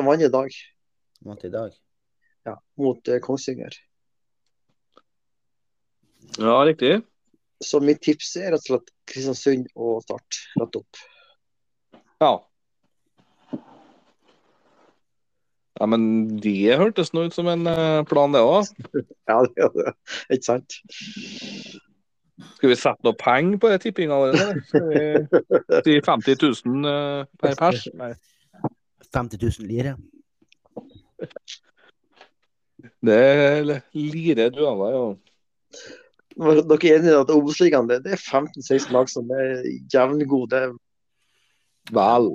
De vant i dag Han vant i dag. ja, mot eh, Kongsvinger. Ja, riktig. Så mitt tips er rett og slett Kristiansund og Start rett opp. [laughs] Ja. Ja, men det hørtes nå ut som en eh, plan, det òg. Ja, det er det. Ikke sant? Skal vi sette noe penger på det tippinga allerede? Skal vi si 50 000 eh, per pers? Nei. 50 000 lire. Det er lire dualer, jo. Var Dere er enige i at Obos-ligaen det, det er 15-16 lag som er jevngode. Vel.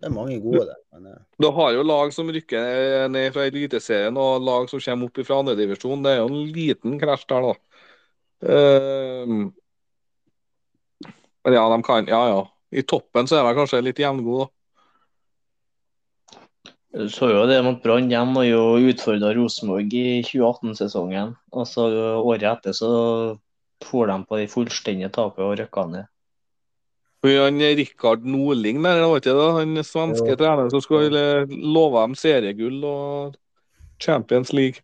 Det er mange gode der. Men, eh, Du har jo lag som rykker ned fra Eliteserien, og lag som kommer opp fra andredivisjon. Det er jo en liten krasj der, da. Eh, Men ja, de kan Ja, ja. I toppen så er de kanskje litt jevngode, da. Du så jo det mot Brann. De var jo utfordra Rosenborg i 2018-sesongen. Og så eh, året etter så for de på det fullstendige tapet og rykka ned. For Han Rikard Norling der, det var ikke det? Han svenske treneren som skulle love dem seriegull og Champions League.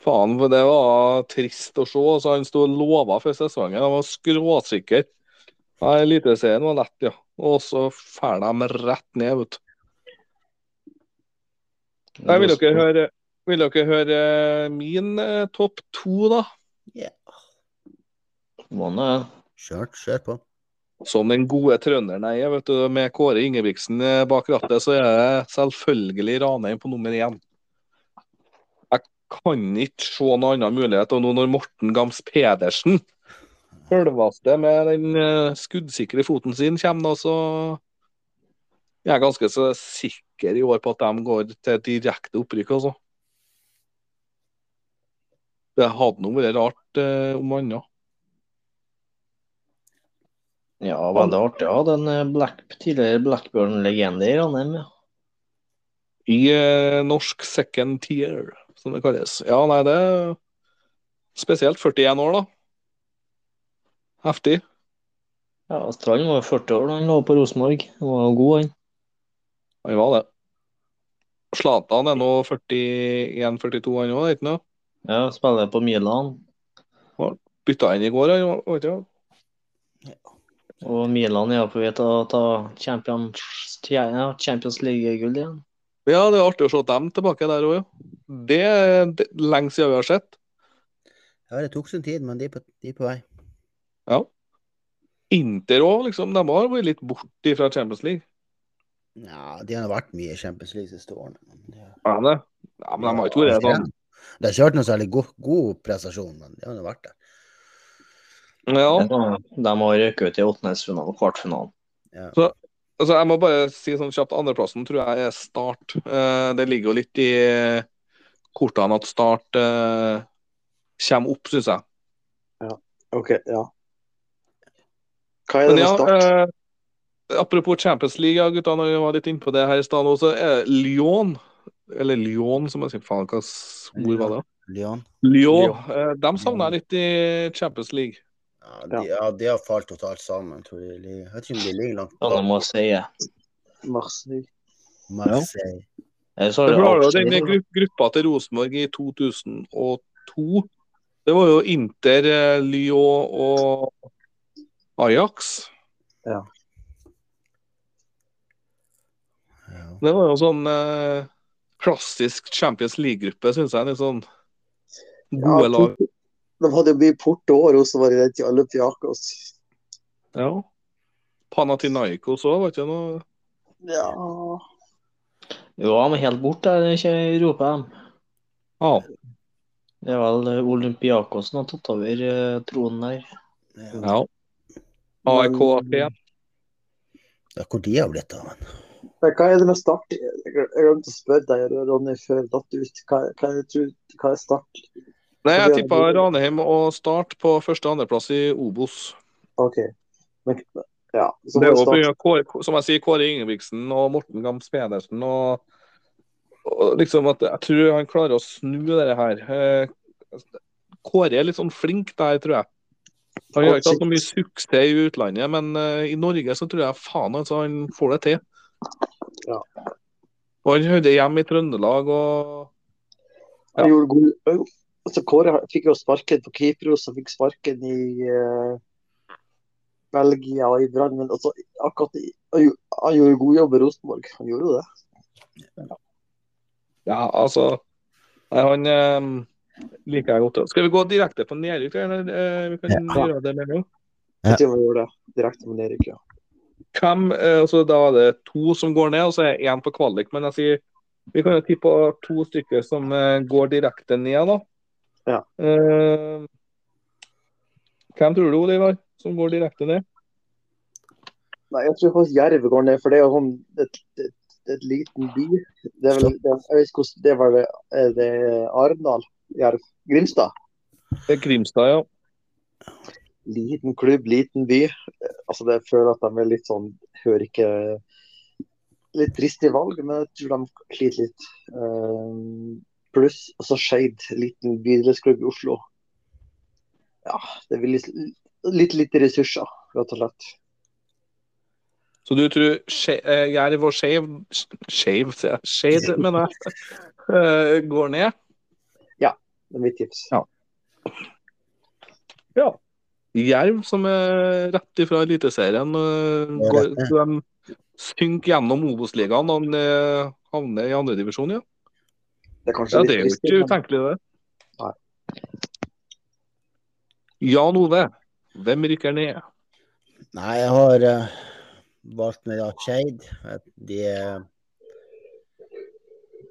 Faen, for det var trist å se. Altså, han sto og lova før sesongen. Han var skråsikker. Ja, Eliteserien var lett, ja. Og så drar de rett ned, vet du. Nei, vil dere høre, vil dere høre min eh, topp to, da? ja. Må nå, ja. Kjør, kjør på. Som den gode trønderen jeg er, vet du, med Kåre Ingebrigtsen eh, bak rattet, så er det selvfølgelig Ranheim på nummer én. Jeg kan ikke se noen annen mulighet. Og nå når Morten Gams Pedersen, sjølveste med den eh, skuddsikre foten sin, kommer nå, så Jeg er ganske så sikker i år på at de går til direkte opprykk, altså. Det hadde nå vært rart eh, om annet. Ja, veldig artig å ha den eh, Black, tidligere Blackburn-legende i Ranheim. Ja. I eh, norsk second tier, som det kalles. Ja, nei, det er spesielt 41 år, da. Heftig. Ja, Strand var jo 40 år da han lå på Rosenborg. Han var jo god, han. Han var det. Zlatan er nå 41-42, han òg, ikke noe? Ja, Spiller på Milan. Bytta inn i går, han var- vet du. Og Milan er jo på vei til å ta Champions, ja, Champions League-gull igjen. Ja, det er artig å se dem tilbake der òg, ja. Det er det- lenge siden vi har sett. Ja, det tok sin tid, men de er på, de er på vei. Ja. Inter òg, liksom. De har vært litt borti fra Champions League. Ja, de har vært mye i Champions League de siste årene. Men de har, Ja, det. Ja, men de har ikke vært sånn. det har ikke vært noe særlig god, god prestasjon, men de har nå vært der. Ja. De har røket ut i åttendelsfinalen og kvartfinalen. Altså, jeg må bare si sånn kjapt andreplassen tror jeg er Start. Eh, det ligger jo litt i kortene at Start eh, kommer opp, syns jeg. OK, ja. Hva er Men det med ja, start? eh, apropos Champions League, ja, gutta, når vi var litt inne på det her i stad nå, så er det Lyon Eller Lyon, som jeg sier. Faen, hva s- ord var det? Lyon. Lyon. Eh, dem savner jeg litt i Champions League. Ja, de, ja, de har falt totalt sammen. Tror jeg. de- jeg vet ikke om de ligger langt Ja, de bak må si det. eh, Marseille. Marseille. Ellers Eh, har Det det var jo alltid- denne gru gruppa til Rosenborg i 2002. Det var jo Inter, eh, Lyon og Ajax. Ja. Det var jo sånn eh, klassisk Champions League-gruppe, syns jeg. Litt sånn Ja, gode lag. Porto- de hadde jo mye Porto og Rosenborg i den tida. Olympiakos. Ja. Panathinaikos òg, var ikke det noe Ja. Jo, de er helt borte, er det ikke i Europa? de? Ja. Det er vel eh, Olympiakos som har tatt over eh, tronen der. ja. Ja. AIK Aten. Ja, hvor de har blitt av, men Men hva er det med start? Jeg glem- jeg glemte å spørre deg, Ronny, før jeg datt ut. Hva, hva, er, tru- hva er start? Nei, jeg tippa Ranheim og Start på første- og andreplass i Obos. OK. Men, ja, så Det er jo må på start. grunn av Kåre- som jeg sier, Kåre Ingebrigtsen og Morten Gams Pedersen og, og liksom at Jeg tror han klarer å snu det her. Eh, Kåre er litt sånn flink der, tror jeg. Han gjør ikke hatt så mye suksess i utlandet, men eh, i Norge så tror jeg faen altså han får det til. Ja. Og han hører hjemme i Trøndelag og Han gjorde god Au. altså, Kåre fikk jo sparken på Kypros og fikk sparken i eh, Belgia og i Brann, men altså, akkurat i, han, gjorde, han gjorde god jobb i Rosenborg. Han gjorde det. Ja, altså Nei, han eh, liker jeg godt. Skal vi gå direkte på nedrykk, eller? eh, vi kan Ja. gjøre det med en gang. Ja. Jeg tror han gjorde det direkte med Erik, ja. Hvem, eh, altså, da er det to som går ned, og så er det én på kvalik. Men jeg sier vi kan jo tippe på to stykker som eh, går direkte ned, da. Ja. Eh, hvem tror du, Olivar, som går direkte ned? Nei, jeg tror faktisk Jerv går ned, for det er jo sånn et, et, et liten by. Det er vel, det, jeg vet ikke hvordan, det var det, er det Arendal? Jerv? Grimstad? Det er Grimstad, ja. Liten klubb, liten by. Eh, Altså, jeg føler at de er litt sånn Hører ikke Litt dristig valg, men jeg tror de sliter litt. Eh, Pluss også Skeid, liten bydelsklubb i Oslo. Ja, det vil litt, litt lite ressurser, rett og slett. Så du tror Skje- eh, Jerv og Skeiv Skeiv, sier jeg. Skeid, mener jeg. [laughs] eh, går ned. Det er mitt tips. Jerv, som er rett ifra Eliteserien, øh, Ja, går- rett, de synker gjennom Obos-ligaen og øh, havner i andredivisjon, ja. Det er kanskje ja. litt Det er jo dristig, ikke men- utenkelig, det. Nei. Jan Ove, hvem rykker ned? Nei, jeg har eh, valgt meg da Skeid. At De, eh,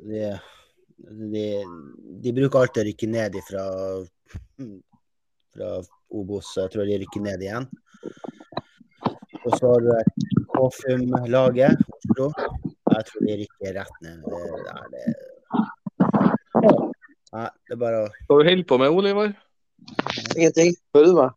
de, de De bruker alltid å rykke ned ifra fra Obos, så jeg tror de rykker ned igjen. Og så har du Kofum-laget, Oslo. Jeg tror de rykker rett ned. Det, nei, det, nei, det er bare å Hva holder du holder på med, Oliver? Ingenting. Hører du meg?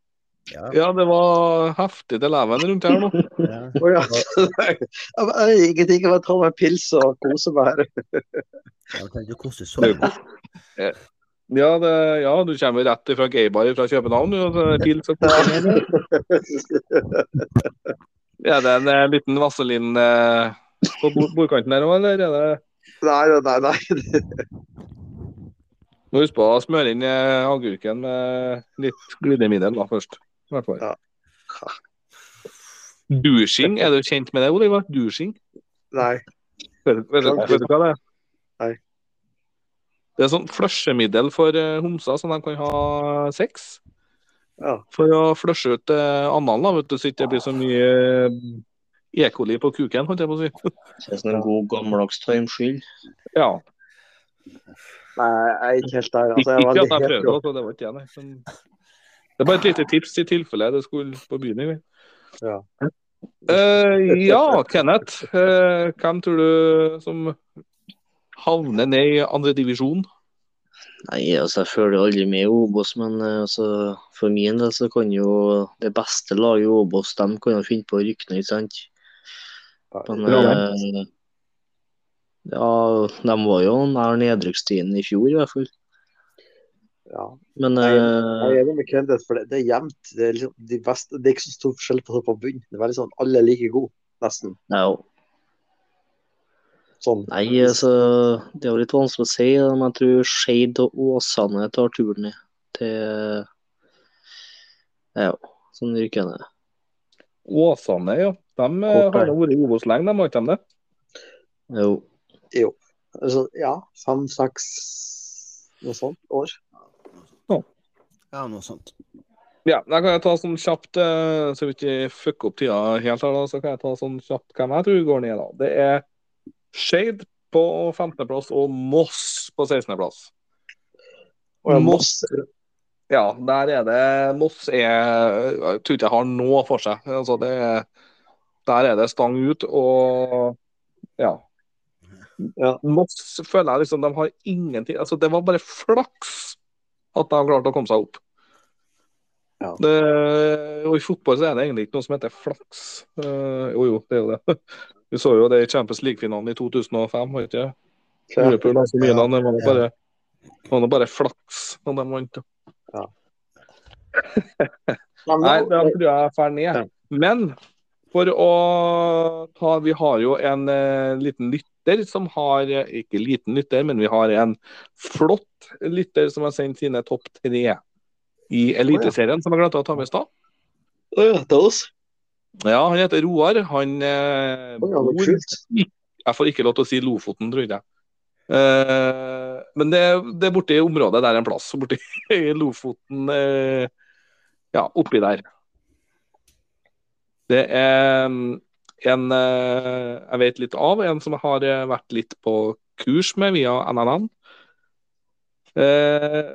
Ja. Ja, det var heftig til leven rundt her nå. ja. Å ja. [laughs] Jeg bare- jeg- Ingenting. Jeg bare tar meg en pils og koser meg her. Jeg tenkte, hvordan så [laughs] Ja, det, ja du kommer rett ifra gaybar fra København, du. og så er det Pils og kos. [laughs] Er det en eh, liten vaselin eh, på bord- bordkanten her òg, eller er det Nei, nei, nei. nei. Må huske på å smøre inn eh, agurken med litt glidemiddel da, først. I hvert fall. Ja. Douching, er du kjent med det, Oliver? Douching? nei. Vet, vet, vet, du hva det er? Nei. Det er sånn flusjemiddel for eh, homser, sånn de kan ha sex. Ja. For å flushe ut eh, analen, da, vet du, så ikke det blir så mye eh, ekoli på kuken, holdt jeg på å si. Det er sånn en god gammeldags tarmskyld. Ja. Nei, jeg er ikke helt der. Altså, Ikke jeg er ikke at veldig jeg prøvde, hetero. altså. Det var ikke jeg, nei. Men det er bare et lite tips i tilfelle det skulle på byen i kveld. Ja. Eh, ja, Kenneth. eh, hvem tror du som havner ned i andredivisjon? Nei, altså, jeg følger jo aldri med i Obos, men eh, altså, for min del så kan jo det beste laget i Obos, de kan jo finne på å rykke ned, ikke sant? Men eh, ja, de var jo nær nedrykkstiden i fjor, i hvert fall. Ja. Men Nei, eh, Jeg er enig med Kenneth, for det, det er jevnt. Det er, liksom de beste, det er ikke så stor forskjell på topp og bunn. Det er veldig sånn alle er like gode, nesten. ja, Sånn. nei, altså, det er jo litt vanskelig å si, da, men jeg tror Skeid og Åsane tar turen ned til Ja, sånn rykker ned. Åsane, ja. De eh, har da vært i Obos lenge, de har ikke de det? Jo. Altså, ja, fem-seks noe sånt år. Ja, noe sånt. Ja, da kan jeg ta sånn kjapt, eh, så vi ikke fucker opp tida helt her, da, så kan jeg ta sånn kjapt hvem jeg tror går ned, da. Det er Skeid på 15.-plass og Moss på 16.-plass. Og jeg må- Ja, der er det Moss er Jeg tror ikke jeg har noe for seg. Altså, det er Der er det stang ut, og ja. Ja. Moss føler jeg liksom de har ingenting Altså, det var bare flaks at de klarte å komme seg opp. Ja. Det, og i fotball så er det egentlig ikke noe som heter flaks. Eh, jo, jo, det er jo det. [laughs] Vi så jo det i Champions League-finalen i 2005, var det ikke? Liverpool, altså Milan, det var nå bare, det var nå bare flaks når de vant. da. Nei, men- Nei, da tror jeg drar ned. Ja. Men for å ta Vi har jo en eh, liten lytter som har eh, Ikke liten lytter, men vi har en flott lytter som har sendt sine topp tre i Eliteserien, som jeg glemte å ta med i stad. Å ja, det er oss. Ja, han heter Roar. Han eh, Å ja, det er bor kult. Jeg får ikke lov til å si Lofoten, tror jeg. Eh, men det, det er borti området der en plass. Borti i Lofoten eh, Ja, oppi der. Det er mm, en eh, jeg vet litt av, en som jeg har eh, vært litt på kurs med via NNN. Eh,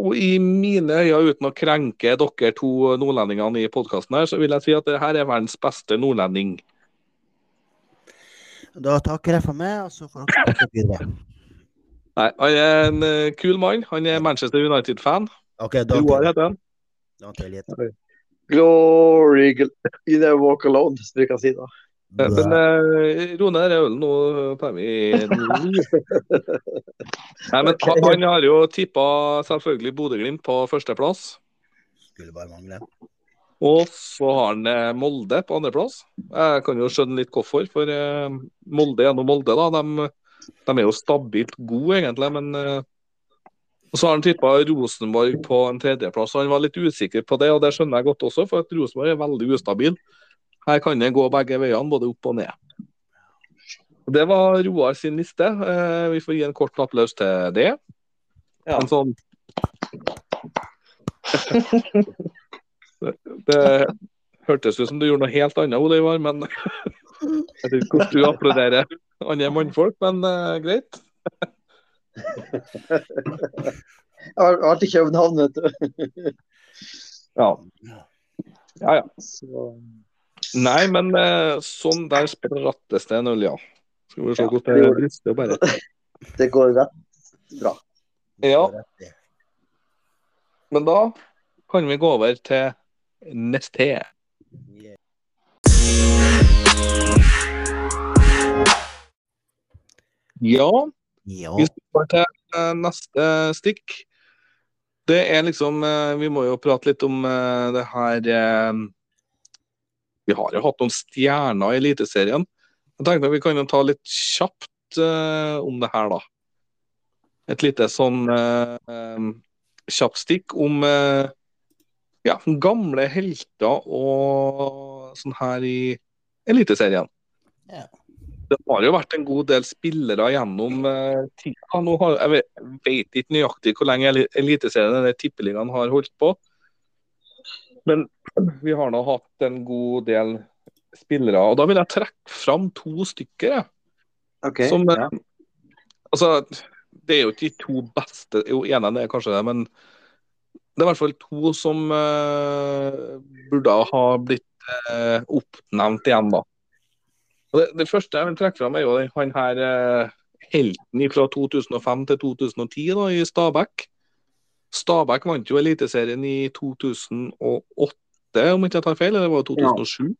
og i mine øyne, uten å krenke dere to nordlendingene i podkasten her, så vil jeg si at det her er verdens beste nordlending. Da takker jeg for meg, og så får dere snakke videre. Nei, han er en eh, kul mann. Han er Manchester United-fan. OK, da Roar heter han. Da til litt. Glory gl- [laughs] You never walk alone, som vi kan si da. Eh, Men eh, ro ned den ølen nå, eh, [laughs] Pemi. Nei, men han, han har jo tippa selvfølgelig Bodø-Glimt på førsteplass. Skulle bare mangle. Og så har han eh, Molde på andreplass. Jeg kan jo skjønne litt hvorfor, for eh, Molde er nå Molde, da. De, de er jo stabilt gode, egentlig, men eh, Og så har han tippa Rosenborg på en tredjeplass, og han var litt usikker på det, og det skjønner jeg godt også, for at Rosenborg er veldig ustabil. Her kan det gå begge veiene, både opp og ned. Og Det var Roar sin liste. Eh, Vi får gi en kort applaus til det. Ja. En sånn Det hørtes ut som du gjorde noe helt annet, Olivar, men [laughs] jeg vet ikke hvordan du applauderer andre mannfolk, men eh, greit. Jeg har jeg har vært i København, vet du. Ja. Ja, ja. Så, Nei, men eh, sånn der sprattes det en øl, ja. Skal vi se Ja, hvordan det det gjør det. brister bare. det går rett bra. Ja, men da kan vi gå over til neste. Ja, Ja. Vi går til eh, neste stikk. Det er liksom eh, Vi må jo prate litt om eh, det her eh, Vi har jo hatt noen stjerner i Eliteserien. Jeg tenkte at vi kan jo ta litt kjapt eh, om det her, da. Et lite sånn eh, em, kjapt stikk om eh, ja, gamle helter og sånn her i Eliteserien. Ja. Det har jo vært en god del spillere gjennom eh, tida. Nå har, jeg vet, vet ikke nøyaktig hvor lenge Eli- Eliteserien eller Tippeligaen har holdt på. Men vi har nå hatt en god del spillere, og da vil jeg trekke fram to stykker. Jeg, OK. som, ja. altså, det er jo ikke de to beste, jo ene er kanskje det, men det er i hvert fall to som eh, burde ha blitt eh, oppnevnt igjen, da. Og det, det første jeg vil trekke fram, er jo den- han her eh, helten fra 2005 til 2010 da, i Stabæk. Stabæk vant jo Eliteserien i 2008, om ikke jeg tar feil, eller det var 2007?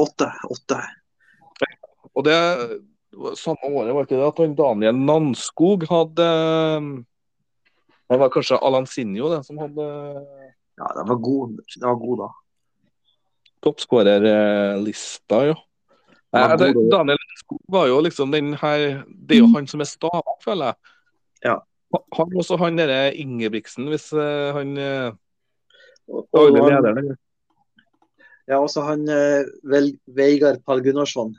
Åtte. Åtte. Og det var samme året var ikke det at han Daniel Nanskog hadde Det var kanskje Alan Sinjo det, som hadde eh, Ja, den var god, den var god da. toppskårerlista, ja. Nei, Han var det, god, da. Daniel Nanskog var jo liksom den her Det er jo han som er Stabæk, føler jeg. Ja. Ha- Han også han derre Ingebrigtsen, hvis eh, han eh, Og, og, daglig han, leder eller? ja, også han eh, Vel, Veigar Pall Gunnarsson.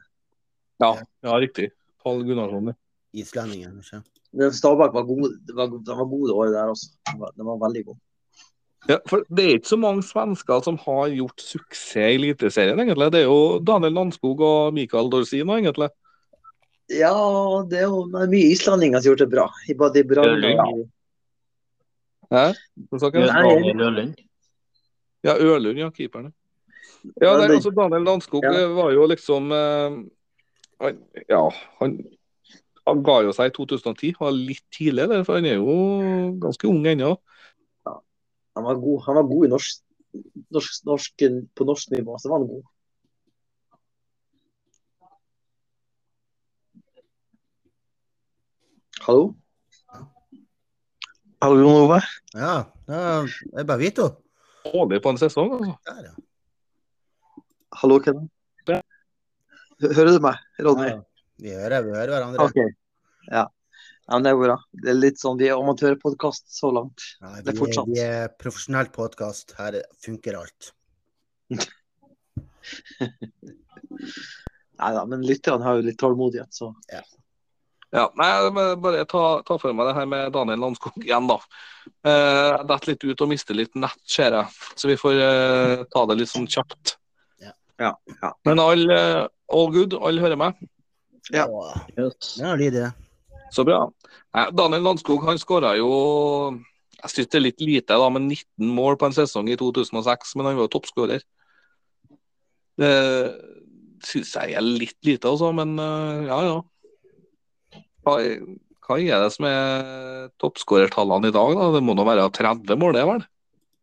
Ja, ja, riktig. Pål Gunnarsson. ja. Islendingen, kanskje. Den Stabæk var god, den var, den var god det året der også. Den var, den var veldig god. Ja, for Det er ikke så mange svensker som har gjort suksess i Eliteserien, egentlig. Det er jo Daniel Landskog og Mikael Dorsino, egentlig. Ja, det er jo det er mye islendinger som har gjort det bra. I både i Brann Ørling, og Hæ? Hva sa jeg? Daniel Løland. Ja, Ørlund, ja, keeperen. Ja, Men nei, det- altså Daniel Landskog Ja. eh, var jo liksom eh, han, Ja, han, han ga jo seg i 2010, var litt tidlig der, for han er jo ganske ung ennå. Han var god, han var god i norsk, norsk, norsk, på norsk nivå. Så var han god. Hallo? Hallo, Jon Ove? Ja, ja, det er bare Vito. Dårlig på en sesong, altså. Der, ja. Hallo, Kenneth? Ja. Hø- Hører du meg, Ronny? ja. Vi hører, vi hører hverandre. OK. Ja. ja, men det går bra. Det er litt sånn, Vi er amatørpodkast så langt. Nei, Det er vi, fortsatt. vi er profesjonell podkast. Her funker alt. Nei da, men lytterne har jo litt tålmodighet, så Ja, nei, jeg må bare ta, ta for meg det her med Daniel Landskog igjen, da. Eh, Jeg detter litt ut og mister litt nett, ser jeg. Så vi får eh, ta det litt sånn kjapt. Ja. Ja, ja. Men all, eh, all good, alle hører meg. Ja. Åh, Yes. Det er lyd i det. Så bra. Nei, Daniel Landskog han skåra jo Jeg syns det er litt lite, da, med 19 mål på en sesong i 2006, men han var jo toppskårer. Det syns jeg er litt lite, altså, men eh, ja, ja. Hva, hva er det som er toppskårertallene i dag, da? Det må nå være 30 mål, det, vel?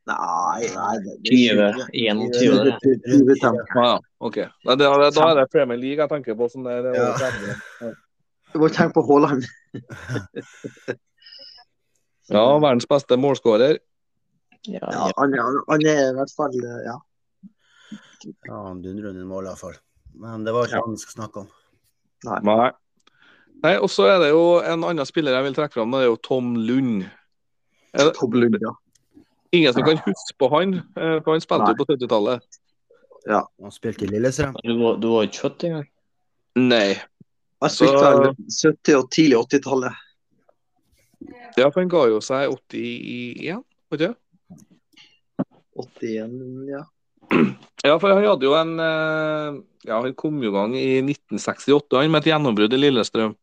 Nei, nei. det- det- 20, 21. det. 20 tenker jeg. Ja, ja, OK. Nei, det, da er det Premier League jeg tenker på. Sånn der, det er over 30. Du må tenke på Haaland. ja, verdens beste målskårer. Ja, Ja, han, han, han er i hvert fall eh, Ja. Ja, han dundrer under mål, i hvert fall. Men det var ikke han vi skal snakke om. Nei. Nei, og så er det jo en annen spiller jeg vil trekke fram, det er jo Tom Lund. Toblund, ja. Ingen som kan huske på han, eh, for han spilte jo på 70-tallet. Han spilte i Lillestrøm. Du var, du var ikke født engang? Nei. Han Så- spilte vel 70- og tidlig 80-tallet. Ja, for han ga jo seg 81, var det? 81, ja. Ja, for han hadde jo en eh, Ja, han kom jo i gang i 1968, han med et gjennombrudd i Lillestrøm.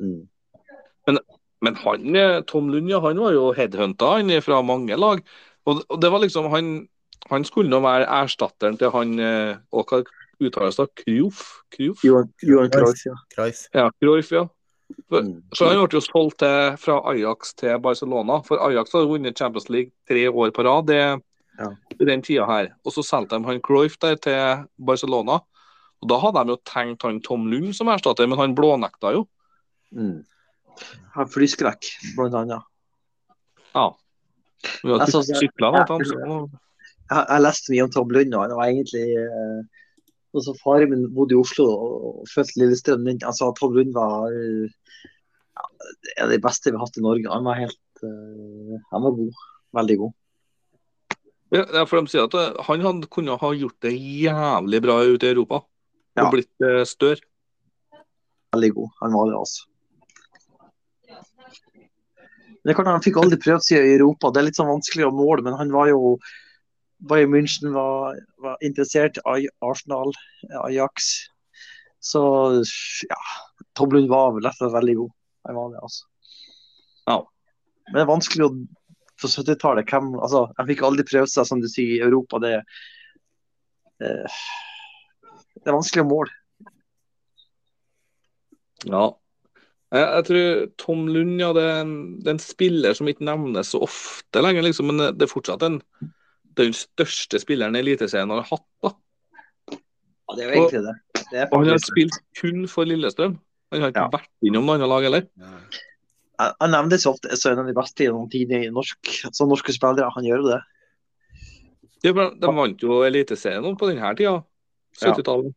Mm. Men han, eh, Tom Lund, ja, han var jo headhunta han fra mange lag. Og, og det var liksom Han, han skulle nå være erstatteren til han eh, og hva uttales det? Kruf? Kruf? Johan, Johan Cruyff, ja. Cruyff. Ja, Cruyff, ja. Mm. Så han ble jo solgt til, fra Ajax til Barcelona. For Ajax har vunnet Champions League tre år på rad det, Ja. i den tida her. Og så solgte de han Cruyff der til Barcelona. Og da hadde de jo tenkt han Tom Lund som erstatter, men han blånekta jo. Mm. Har flyskrekk, blant annet. Ja. Vi har Jeg så- sykla ja. han, så Jeg, jeg leste mye om Tom Lund, og han var egentlig eh, altså, Faren min bodde i Oslo og fødte Lillestrøm. men Han sa at Tom Lund var eh, ja, en av de beste vi har hatt i Norge. Han var helt eh, Han var god. Veldig god. Ja, ja, for de sier at eh, han hadde, kunne ha gjort det jævlig bra ute i Europa. Ja. Og blitt eh, større. Veldig god. Han var det, altså. Men det er klart, Han fikk aldri prøvd seg i Europa. Det er litt sånn vanskelig å måle, men han var jo Bayern München var, var interessert, Aj- Arsenal, eh, Ajax. Så ja, Toblund var vel derfor veldig god. Han var det, altså. Ja. Men det er vanskelig å På 70-tallet, hvem Altså, jeg fikk aldri prøvd seg, som du sier, i Europa. Det, eh, det er vanskelig å måle. Ja. Jeg, jeg tror Tom Lund ja, det, er en, det er en spiller som ikke nevnes så ofte lenger, liksom, men det er fortsatt en, det er den største spilleren Eliteserien har hatt. da. Ja, det er jo egentlig det. det er Og han har faktisk- spilt kun for Lillestrøm. Han har ikke Ja. vært innom noe annet lag heller. Jeg jeg nevner det så ofte som en av de beste gjennom tiden i norsk, som norske spillere. Han gjør jo det. De, de vant jo Eliteserien nå på denne tida. 70-tallet.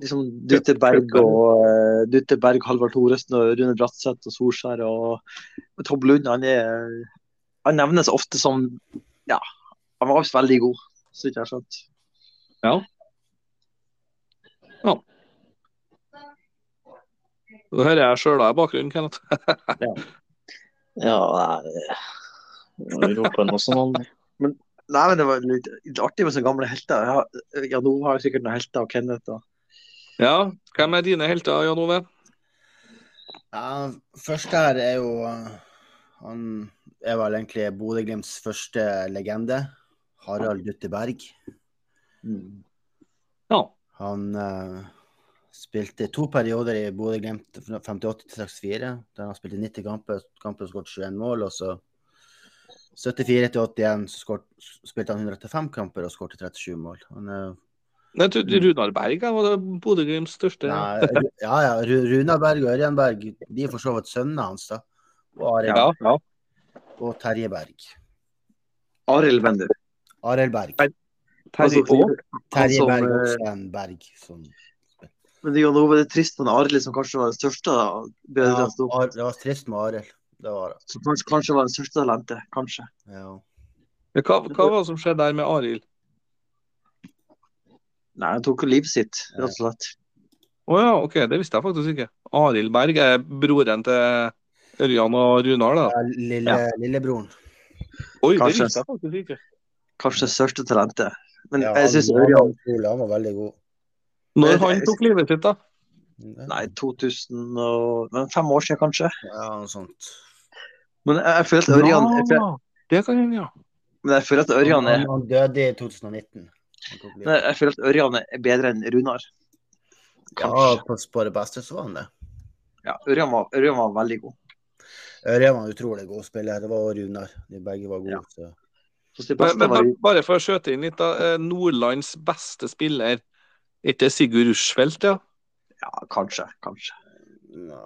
Liksom Dutte Berg og eh, Dutte Berg, Halvard Thoresen og Rune Bratseth og Solskjær og Tobb Lund. Han, er, han nevnes ofte som Ja, han var visst veldig god, så vidt jeg har skjønt. Nå hører jeg sjøla i bakgrunnen, Kenneth. [laughs] Ja, nei Vi roper noe sånn. Nei, men det var litt, litt artig med sånne gamle helter. Jeg har- Ja, nå har jeg sikkert noen helter og Kenneth og Ja, hvem er dine helter, Jan Ove? Ja, første her er jo eh, Han er vel egentlig Bodø-Glimts første legende. Harald Dutte Berg. Ja. Han eh, spilte to perioder i Bodø-Glimt, fra 58 til 64. Der han spilte 90 kamper, kamper og skåret 21 mål. Og så 74 til 81 så skåret- spilte han 135 kamper og skåret 37 mål. Han er Nei, jeg trodde Runar Berg ja, var det Bodø-Glimts største. Nei, Ru- ja, ja. Ru- Runar Berg og Ørjan Berg, de er for så vidt sønnene hans, da. Og, Arild, Ja, ja. og Terje Berg. Arild Bender. Arild Berg. Nei, Terje Aa. han Terje som, Berg og eh, Sven Berg. Som, Men det er jo noe det er trist med Arild, som kanskje var det største. da, Bedre ja, enn Stor. Ar- det var trist med Arild. Det var det. Som kanskje, kanskje var det største talentet. Kanskje. Ja. Ja, Hva, hva var det som skjedde der med Arild? Nei, han tok jo livet sitt, rett og slett. Å ja, OK, det visste jeg faktisk ikke. Arild Berg er broren til Ørjan og Runar, da. Ja, Lille, Lillebroren. Oi, det Kanskje. visste jeg faktisk ikke. Kanskje det største talentet. Men Ja, jeg syns han, Ørjan han, han var veldig god. Når han tok livet sitt, da? Nei, 2000 og men Fem år siden, kanskje. Ja, noe sånt. Men jeg, jeg føler at Ørjan jeg, føler- Ja, det kan hende, ja. Men jeg føler at Han, Ørjan er han døde i 2019. Han tok livet. men jeg føler at Ørjan er bedre enn Runar. Ja, Kanskje. på, på det beste så var han det. Ja, Ørjan var, Ørjan var veldig god. Ørjan var en utrolig god spiller. Det var også Runar. De begge var gode. Så. Så det Men, beste men var bare, bare for å skjøte inn litt, da. eh, Nordlands beste spiller, er ikke det Sigurd Rushfeldt, ja? Ja, kanskje. Kanskje. Nå.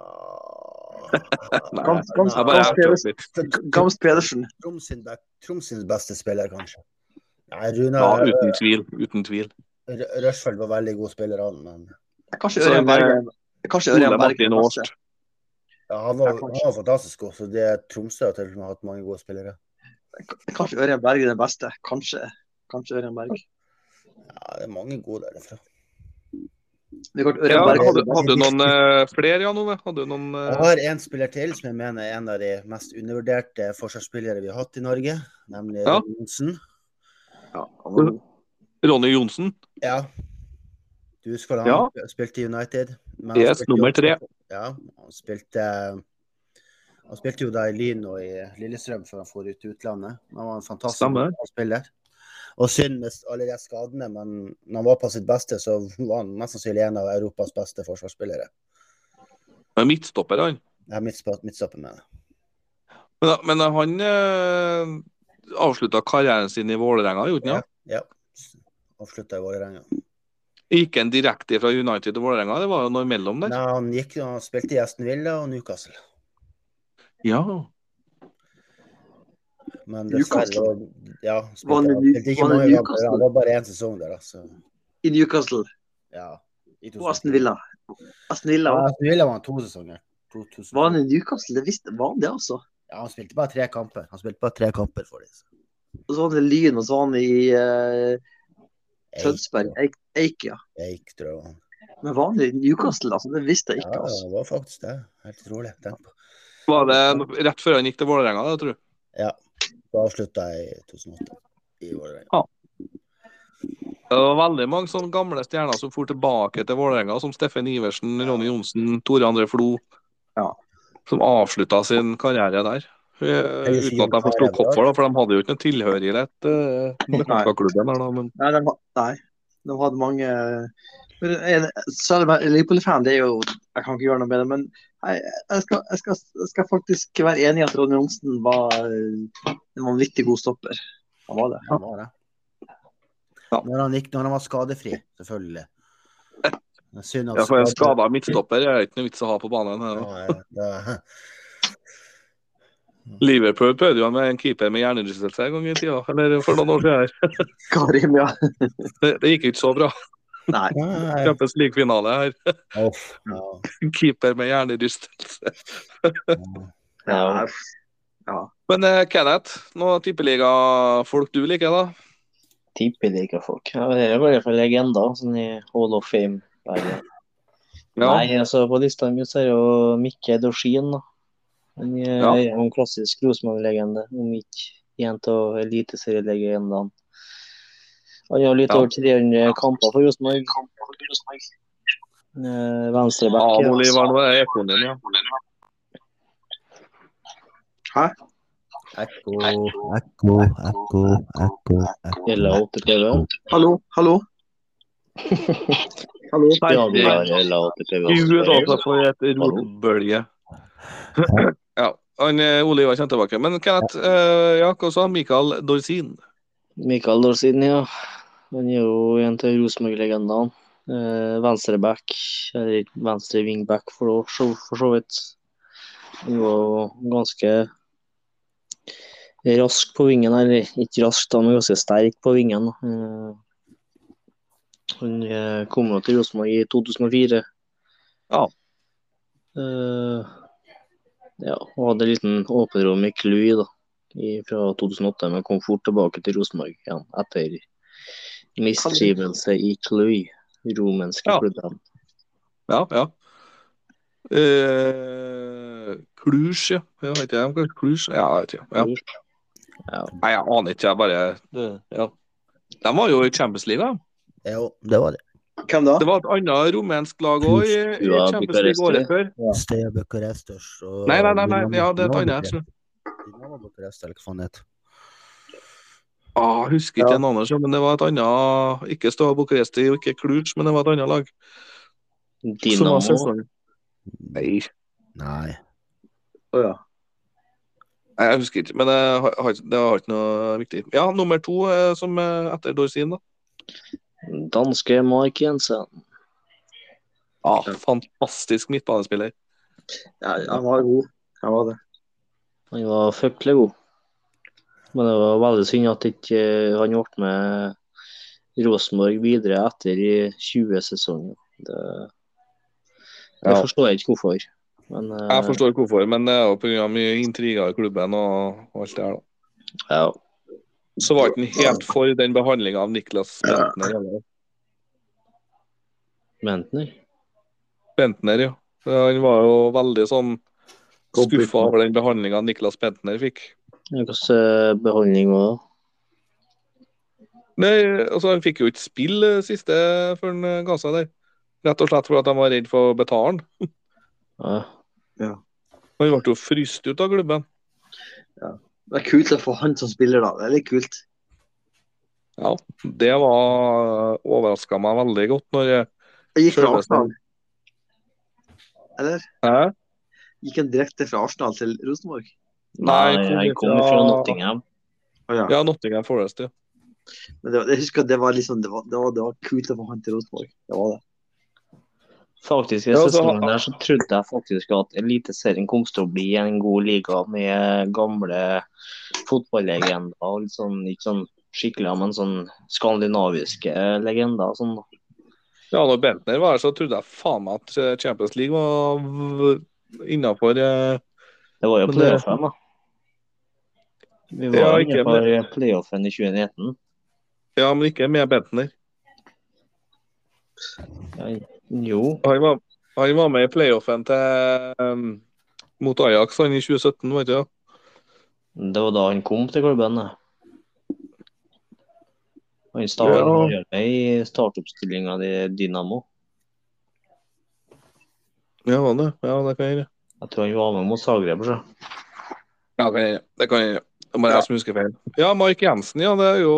Nei, Gams, gams, jeg bare gams, jeg tøffer litt. Gams Pedersen. Troms sin, be- Troms sin beste spiller, kanskje. Nei, Runa Ja, uten tvil. Uten tvil. R- Røsfeldt var veldig god spiller, han, men Kanskje Så er Ørjan det- Berg. er- Kanskje Ole Ørjan Berg. er Martin den beste. Årst. ja, han, var, Ja, kanskje. han var fantastisk god. Så det er Tromsø har til og med hatt mange gode spillere. Kanskje Ørjan Berg er den beste. Kanskje. Kanskje Ørjan Berg. Ja, det er mange gode derifra. Det er klart, Ja, Ørjan Berg hadde, hadde du noen eh, flere, Jan Ove? Hadde du noen Jeg eh, har en spiller til som jeg mener er en av de mest undervurderte forsvarsspillere vi har hatt i Norge, nemlig Ja. Ronny Johnsen. Ja, han var god. eh, Ronny Johnsen? Ja. Du husker han Ja. spilte i United. men han Yes, spilte jo nummer også- tre. Ja, han spilte Han spilte jo da i Lyn og i Lillestrøm før han for ut til utlandet. Men Han var en fantastisk Stemmer. bra spiller. Og synd med alle de skadene, men når han var på sitt beste, så var han mest sannsynlig en av Europas beste forsvarsspillere. Han er Midtstopper, han. Jeg er midtspa- midtstopper med det. Men, men han eh, avslutta karrieren sin i Vålerenga, gjorde han ikke? Ja. Avslutta i Vålerenga. Gikk han direkte fra United til Vålerenga? Det var jo noe imellom der. Nei, Han, gikk- han spilte i Aston Villa og Newcastle. Ja. Men Newcastle? dessverre var- Ja, han spilte, Var han i han New- spilte ikke var han i mange kamper. Newcastle? Han var bare én sesong der, da. Så, I Newcastle ja. I og Aston Villa. Aston Villa Ja, også. Aston Villa var han to sesonger. 2000. Var han i Newcastle? Det visste var han det, altså. Ja, han spilte bare tre kamper. Han spilte bare tre kamper for dem. Og så var han i Sånn Lyn, og så var han i eh, Tønsberg. Eik, Eik, ja. Eik, tror jeg. han. Men var han i Newcastle, altså? Det visste jeg Ja, ikke, altså. det var faktisk det. Helt utrolig. Tenk på. Var det rett før han gikk til Vålerenga, det, tror du? Da avslutta jeg i 2008. i Vålerenga. Det var veldig mange sånne gamle stjerner som for tilbake til Vålerenga, som Steffen Iversen, Ronny Johnsen, Tore André Flo. Ja. Som avslutta sin karriere der. Eh, Jeg vil si Uten at de forsto karriere, hvorfor, da, for de hadde jo ikke noe tilhørighet eh, med Nei. klubben her, da, men Nei, de, ha- nei. de hadde mange men en- Selv om jeg er Liverpool-fan, det er jo Jeg kan ikke gjøre noe med det, men jeg, jeg, skal, jeg, skal, jeg skal faktisk være enig i at Ronny Johnsen var eh, en vanvittig god stopper. Han var det. Han var det. Ja. Når, han gikk, når han var skadefri, selvfølgelig. Det er Synd at ja, for en skade- skada midtstopper er det ikke noe vits å ha på banen. her, da. Ja, ja, Liverpool prøvde jo med en keeper med hjernerystelse en gang i tida, eller for noen år siden. her. [laughs] Karim, ja. Det, det gikk jo ikke så bra. [laughs] Nei. ja, ja. Champions League-finale her. Uff, ja. Keeper med hjernerystelse. [laughs] Ja. Nei, Men eh, Kenneth, noen tippeligafolk du liker, da? Tippeligafolk. Ja, det er i hvert fall legender, sånn i Hall of Fame. Nei, Ja. Nei, altså på lista mi så er jo Mikke Dorsin, da. Han er Ja. er jo en klassisk Rosenborg-legende, om ikke en av eliteserielegendene. Han har litt Ja. over 300 kamper for Rosenborg. Eh, Venstreback. Av Oliver nå er ekoen din, ja. Ekko, ekko, ekko, ekko. Eller 38. Hallo, [laughs] hallo. hallo. Ja, vi har Nei, eller 38. Gud, altså, også. for et rotbølge. [laughs] Ja. Han eh, Oliver kommer tilbake. Men Kenneth, eh, ja, hva sa Mikael Dorsin? Mikael Dorsin, ja. Han er jo en av Rosenborg-legendene. Eh, Venstreback, eller ikke venstre wingback for, så- for så vidt. Han var ganske rask på vingen, eller ikke rask, da, men ganske sterk på vingen. da. Eh, han eh, kom jo til Rosenborg i 2004. Ja. Eh, ja, og hadde en liten åpen rom i Clui, da i, fra 2008, men kom fort tilbake til Rosenborg igjen etter mistrivelse i Cluj, rumenske Ja. klubben. Ja, ja. Eh, Kluge, ja. Jeg vet ikke, jeg, Kluge, ja, jeg vet ikke. Ja. Nei, jeg aner ikke, jeg bare det- ja. De var jo i Champions League, da. Jo, det var det. Hvem da? Det var et annet rumensk lag òg i, i Ja, Champions League Bucuresti. året før. Steaua Bucuresters og Nei, nei, nei, nei, ja, det er et annet. jeg. Dinamo Bucuresti, eller hva faen det heter. Ah, jeg husker ikke navnet, men det var et annet Ikke Stava Bucuresti og ikke Kluge, men det var et annet lag. Som var Dinamo. sesongen. Nei, Nei. Å, ja. Nei, jeg husker ikke, men jeg har- har ikke- det var ikke noe viktig. Ja, nummer to eh, som eh, etter Dorsin, da. Danske Mark Jensen. Ah, fantastisk midtbanespiller. ja. Han var god. Han var det. Han var fryktelig god. Men det var veldig synd at ikke eh, han ble med Rosenborg videre etter i 20-sesongen. Det, det Ja. forstår jeg ikke hvorfor. Men, eh, Jeg forstår hvorfor, men det er jo pga. mye intriger i klubben og og alt det her, da. Ja. Så var ikke han helt for den behandlinga av Niklas Bentner. eller? Bentner. Bentner, ja. Så Han var jo veldig sånn skuffa over den behandlinga Niklas Bentner fikk. Hvilken behandling var det? Nei, altså Han fikk jo ikke spille siste før han eh, ga seg der. Rett og slett fordi at de var redd for å betale han. Ja. Han ble jo fryst ut av klubben. Det er kult å få han som spiller, da. Det er litt kult. Ja, Det var overraska meg veldig godt når eh, jeg Jeg gikk fra Sjølveste. Arsenal. Eller? Hæ? Gikk han direkte fra Arsenal til Rosenborg? Nei, Nei, kom jeg kom fra- fra Nottingham. Å, ja. Ja, Nottingham Forest, ja. Men det var, jeg husker at det var liksom det var, det var, det var kult å få han til Rosenborg. Det var det. Faktisk, i Ja, altså, så- sesongen der så trodde jeg faktisk at Eliteserien kom til å bli en god liga med gamle fotballegender. og Litt sånn, ikke sånn skikkelig, men sånn skandinaviske legender. og Sånn. Ja, når Bentner var her, så trodde jeg faen meg at eh, Champions League var innafor Det var jo Men eh, det- playoffen, da. Vi Ja, var jo ikke- inne på playoffen i 2019. Ja, men ikke med Bentner. Ja, jo, Han var, han var med i playoffen til em, mot Ajax han i 2017, vet du. ja. det var da han kom til klubben. da. Han starter Ja. han gjør det i startoppstillinga i Dynamo. Ja, var det? Ja, det kan jeg gjøre. Jeg tror han var med mot Zagreb. Så. Ja, det kan jeg gjøre. Det kan jeg gjøre. Det må jeg som husker feil. Ja, Mark Jensen, ja. Det er jo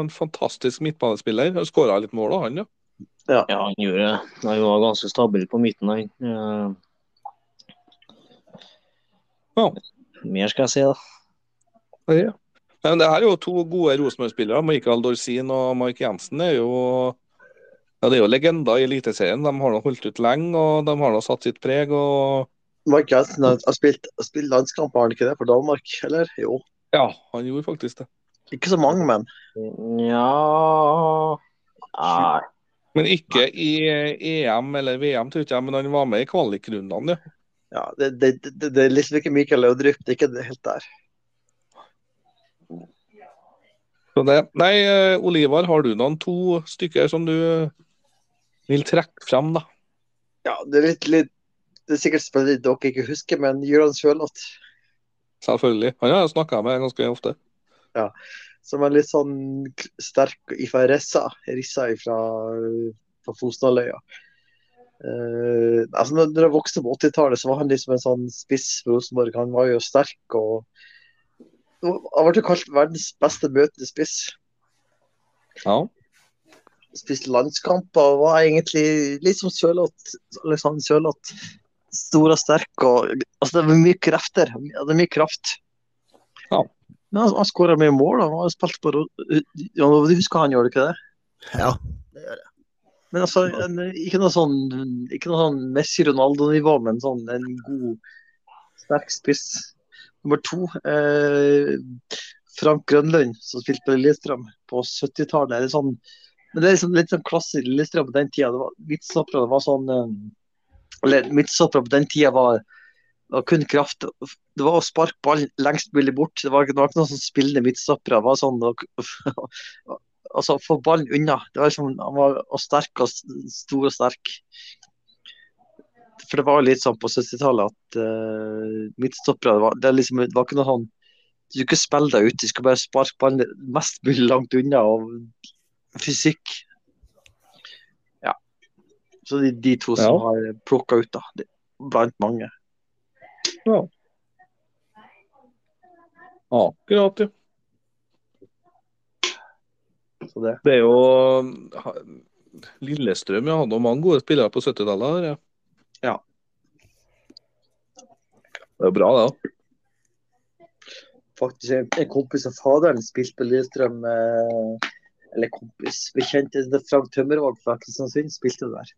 en fantastisk midtbanespiller. Han skåra litt mål, da, han, ja. Ja, han gjorde det. Han var ganske stabil på midten, han. Eh, Ja. Mer skal jeg si, da. Nei, Men det her er jo to gode Rosenborg-spillere. Michael Dorsin og Mark Jensen er jo ja, det er jo legender i Eliteserien. De har nå holdt ut lenge, og de har nå satt sitt preg. og Mark Jensen har, har, spilt, har spilt landskamp, har han ikke det, for Danmark? Eller? Jo. Ja, han gjorde faktisk det. Ikke så mange, men. Nja Nei. Men ikke i eh, EM eller VM, tror ikke jeg, men han var med i kvalikrundene, ja. Ja, det, det, det, det er liksom ikke Mikael Laudrup. Det er ikke helt der. Så det. Nei, eh, Olivar, har du noen to stykker som du vil trekke frem, da? Ja, det er litt, litt Det er sikkert spillere dere ikke husker, men Jørgen Sjølott, Selvfølgelig. Han har jeg snakka med ganske ofte. som er litt sånn k- sterk ifra Rissa. Rissa ifra fra Fosnaløya. Eh, altså når, når jeg vokste på 80-tallet, så var han liksom en sånn spiss for Rosenborg. Han var jo sterk og Han ble jo kalt verdens beste møtende spiss. Ja. spilte landskamper og var egentlig litt som Sørloth. Alexander Sørloth. Stor og sterk. Og, altså, det var mye krefter. Ja, Det er mye kraft. Ja. Men han, han skåra mye mål. og Han har spilt på Ro- ja, Du husker han, gjør du ikke det? Ja, det gjør jeg. Men altså, en, ikke noe sånn, ikke noe sånn Messi-Ronaldo-nivå, men sånn en god, sterk spiss. Nummer to, eh, Frank Grønlund, som spilte på Lillestrøm på 70-tallet. Det er Sånn, men det er liksom litt sånn klasse i Lillestrøm på den tida. Det var- Midtstoppere var sånn eh, Eller midtstoppere på den tida var, var kun kraft. Det var å sparke ballen lengst mulig bort. Det var, det var ikke noen sånn spillende midtstoppere. Det var sånn det var- [laughs] altså, få ballen unna. Det var liksom, han var og sterk og s- stor og sterk. For det var jo litt sånn på 70-tallet at eh, midtstoppere det var, det, er liksom, det var ikke noe sånn Du skulle ikke spille deg ut, du skulle bare sparke ballen mest mulig langt unna. Og fysikk. Ja. Så de, de to som Ja. har plukka ut, da. Det, blant mange. Akkurat, ja. Så det. Det er jo ha- Lillestrøm ja, hadde jo mange gode spillere på 70-tallet. der, Ja. Det er jo bra, det òg. faktisk en, en kompis av faderen spilte på Lillestrøm. Eh, eller kompis, bekjent. Det er Frank Tømmervåg fra Kristiansund spilte jo der.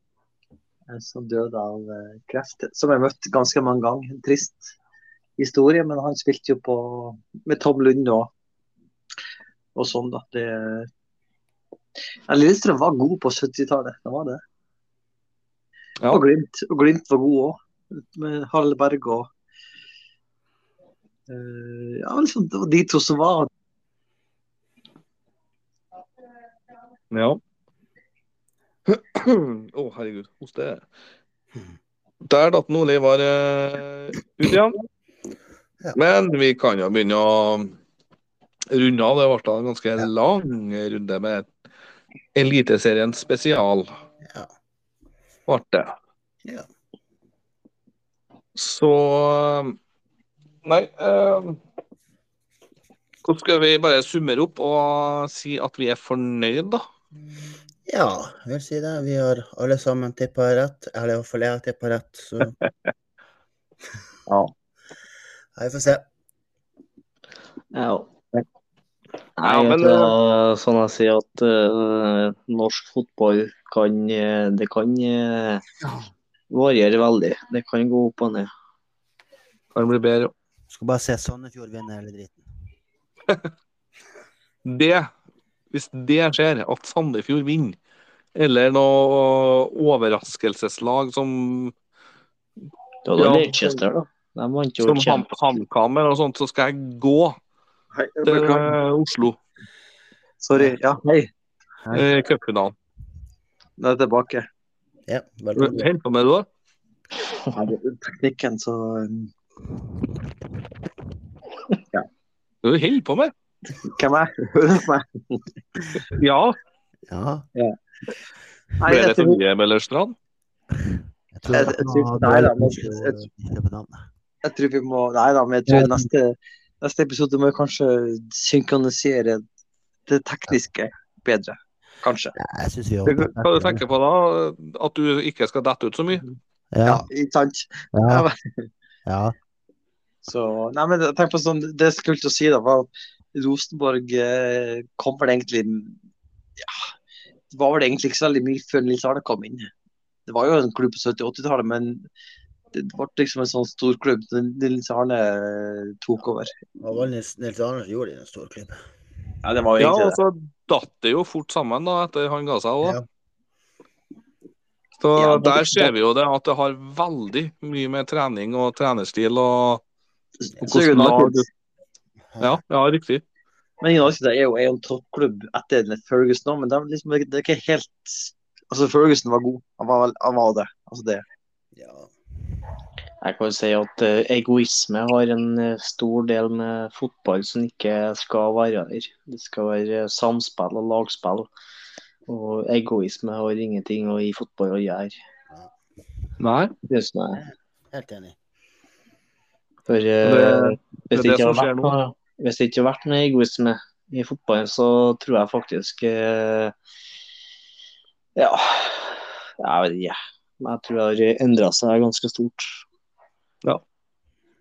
Eh, Som døde av eh, kreft. Som jeg møtte ganske mange ganger. En trist historie, men han spilte jo på med Tom Lund og, og sånn, da. Det, ja, Lillestrøm var god på 70-tallet, det var det. Ja. Og, Glimt, og Glimt var god òg, med Harald Berg og Eh, ja, liksom, det var de to som var Ja. [clears throat] Å, herregud. Hoste. Der datt den Olivar eh, ut igjen. Ja. Men vi kan jo begynne å runde av. Det ble en ganske lang runde med Eliteserien spesial. Ja. Ble det. Ja. Så eh, Nei. Eh, hvordan skal vi bare summere opp og si at vi er fornøyd, da? Ja, jeg vil si det. Vi har alle sammen tippa rett. Eller iallfall jeg har tippa rett, så [laughs] [laughs] Ja. Nei, vi får se. Ja. Nei, Ja, men, eh, men, det var sånn jeg sier at eh, norsk fotball kan eh, Det kan eh, variere veldig. Det kan gå opp og ned. Kan bli bedre. Skal bare se Sandefjord vinne hele driten. det, hvis det skjer, at Sandefjord vinner, eller noe overraskelseslag som, Det var da Ja. Leicester, da. De vant jo som Ham- kjempe... HamKam eller noe sånt, så skal jeg gå Hei, jeg til beklager. eh, Oslo Sorry. Ja, hei. eh, i cupfinalen. Nå er jeg tilbake. Ja, velkommen. Hent på meg, du, da. Nei, det er Teknikken, så um, Du holder på med [laughs] Hvem er jeg? Hører du meg? Ja, Ja. Nei, Ble det sånn? jeg til tror, VM eller Strand? Jeg tror Jeg- det jeg tror- var nei, da, Norge jeg- og- jeg- ikke på navnet. jeg tror vi må Nei da, men jeg tror neste, neste episode må vi kanskje synkronisere det tekniske bedre. Kanskje. Nei, Jeg synes vi har Hva du tenker på da? At du ikke skal dette ut så mye? Ja, Ja, ikke sant? ja, [laughs] ja. Så, nei, men tenk på sånn, Det jeg skulle til å si, da, var at Rosenborg eh, kom vel egentlig ja, Det var vel egentlig ikke så veldig mye før Nils Arne kom inn. Det var jo en klubb på 70-80-tallet, men det ble liksom en sånn stor klubb da Nils Arne eh, tok over. Det var Nils, Nils Arne som gjorde det i en stor klubb. Ja, det var Ja, jo og egentlig det. så datt det jo fort sammen da, etter han ga seg òg. Ja. Så Ja, men- der ser vi jo det, at det har veldig mye med trening og trenerstil og Så hvordan United- lag du- Ja, ja riktig. Men United er jo er jo en toppklubb etter Ferguson nå, men det er, liksom, det er ikke helt Altså, Ferguson var god. Han var, han var det. Altså, det. Ja. Jeg kan jo si at eh, egoisme har en eh, stor del med fotball som ikke skal være der. Det skal være eh, samspill og lagspill. Og egoisme har ingenting å- i fotball å gjøre. Nei. Det synes jeg. Helt enig. For eh, det- det er hvis det det ikke som har skjer vært nå. noe, hvis det ikke har vært noe egoisme i fotballen, så tror jeg faktisk eh, Ja, jeg vet ikke. Men jeg tror det har endra seg ganske stort. Ja.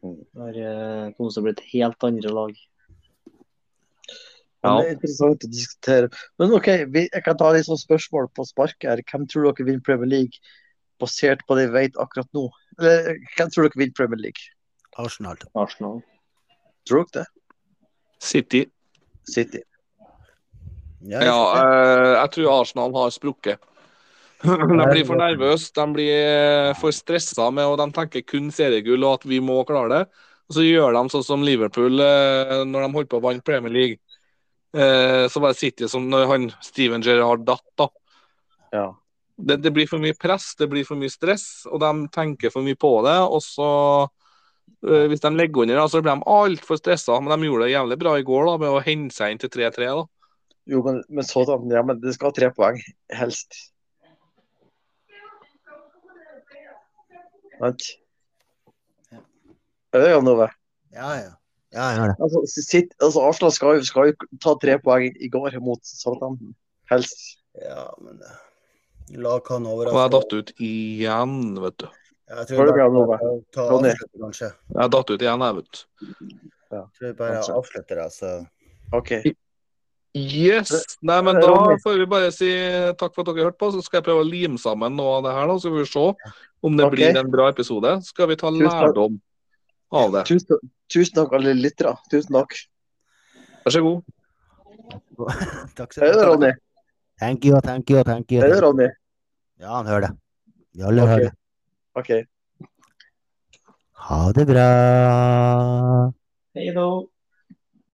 Det har eh, kommet til å bli et helt andre lag. Men Ja. Det er interessant å diskutere. Men OK, vi, jeg kan ta litt sånn spørsmål på sparket her. Hvem tror dere vinner Premier League basert på det vi vet akkurat nå? Eller hvem tror dere vinner Premier League? Arsenal. Arsenal. Tror dere det? City. City. Ja, Ja, eh, jeg tror Arsenal har sprukket. [laughs] De blir for nervøse, de blir eh, for stressa med og de tenker kun seriegull og at vi må klare det. Og så gjør de sånn som Liverpool eh, når de holdt på å vinne Premier League. Eh, Så bare City som når han Steven Gerrard datt, da. Ja. Det, det blir for mye press, det blir for mye stress, og de tenker for mye på det. Og så, eh, hvis de legger under, da, så blir de altfor stressa. Men de gjorde det jævlig bra i går da, med å hente seg inn til 3-3. da. Jo, men, men så da, ja, men det skal ha tre poeng, helst. Sant? Er det Jan Ove? ja. ja. ja jeg hører det. Altså, sitt, altså Arsenal skal jo, skal jo ta tre poeng i går mot Southampton, helst. Ja, men eh, lag kan Og jeg overraske. datt ut igjen, vet du. Ja, Jeg Var tror det bra, bare Nova? ta Ronny? avslutter, kanskje. Jeg datt ut igjen, jeg, vet du. Jeg tror bare Kanskje. avslutter, altså. OK. Yes! Nei, men da får vi bare si takk for at dere hørte på, så skal jeg prøve å lime sammen noe av det her, da. Så får vi se om det Ok. blir en bra episode. Så skal vi ta Tusen takk. lærdom av det. Tusen, tusen takk, alle lyttere. Tusen takk. Vær så god. Takk Hører skal du, du ha. Ronny? Thank you, thank you, thank you. Hører du, Ronny? Ja, han hører det. Vi alle Ok. hører det. OK. Ha det bra. Hei da.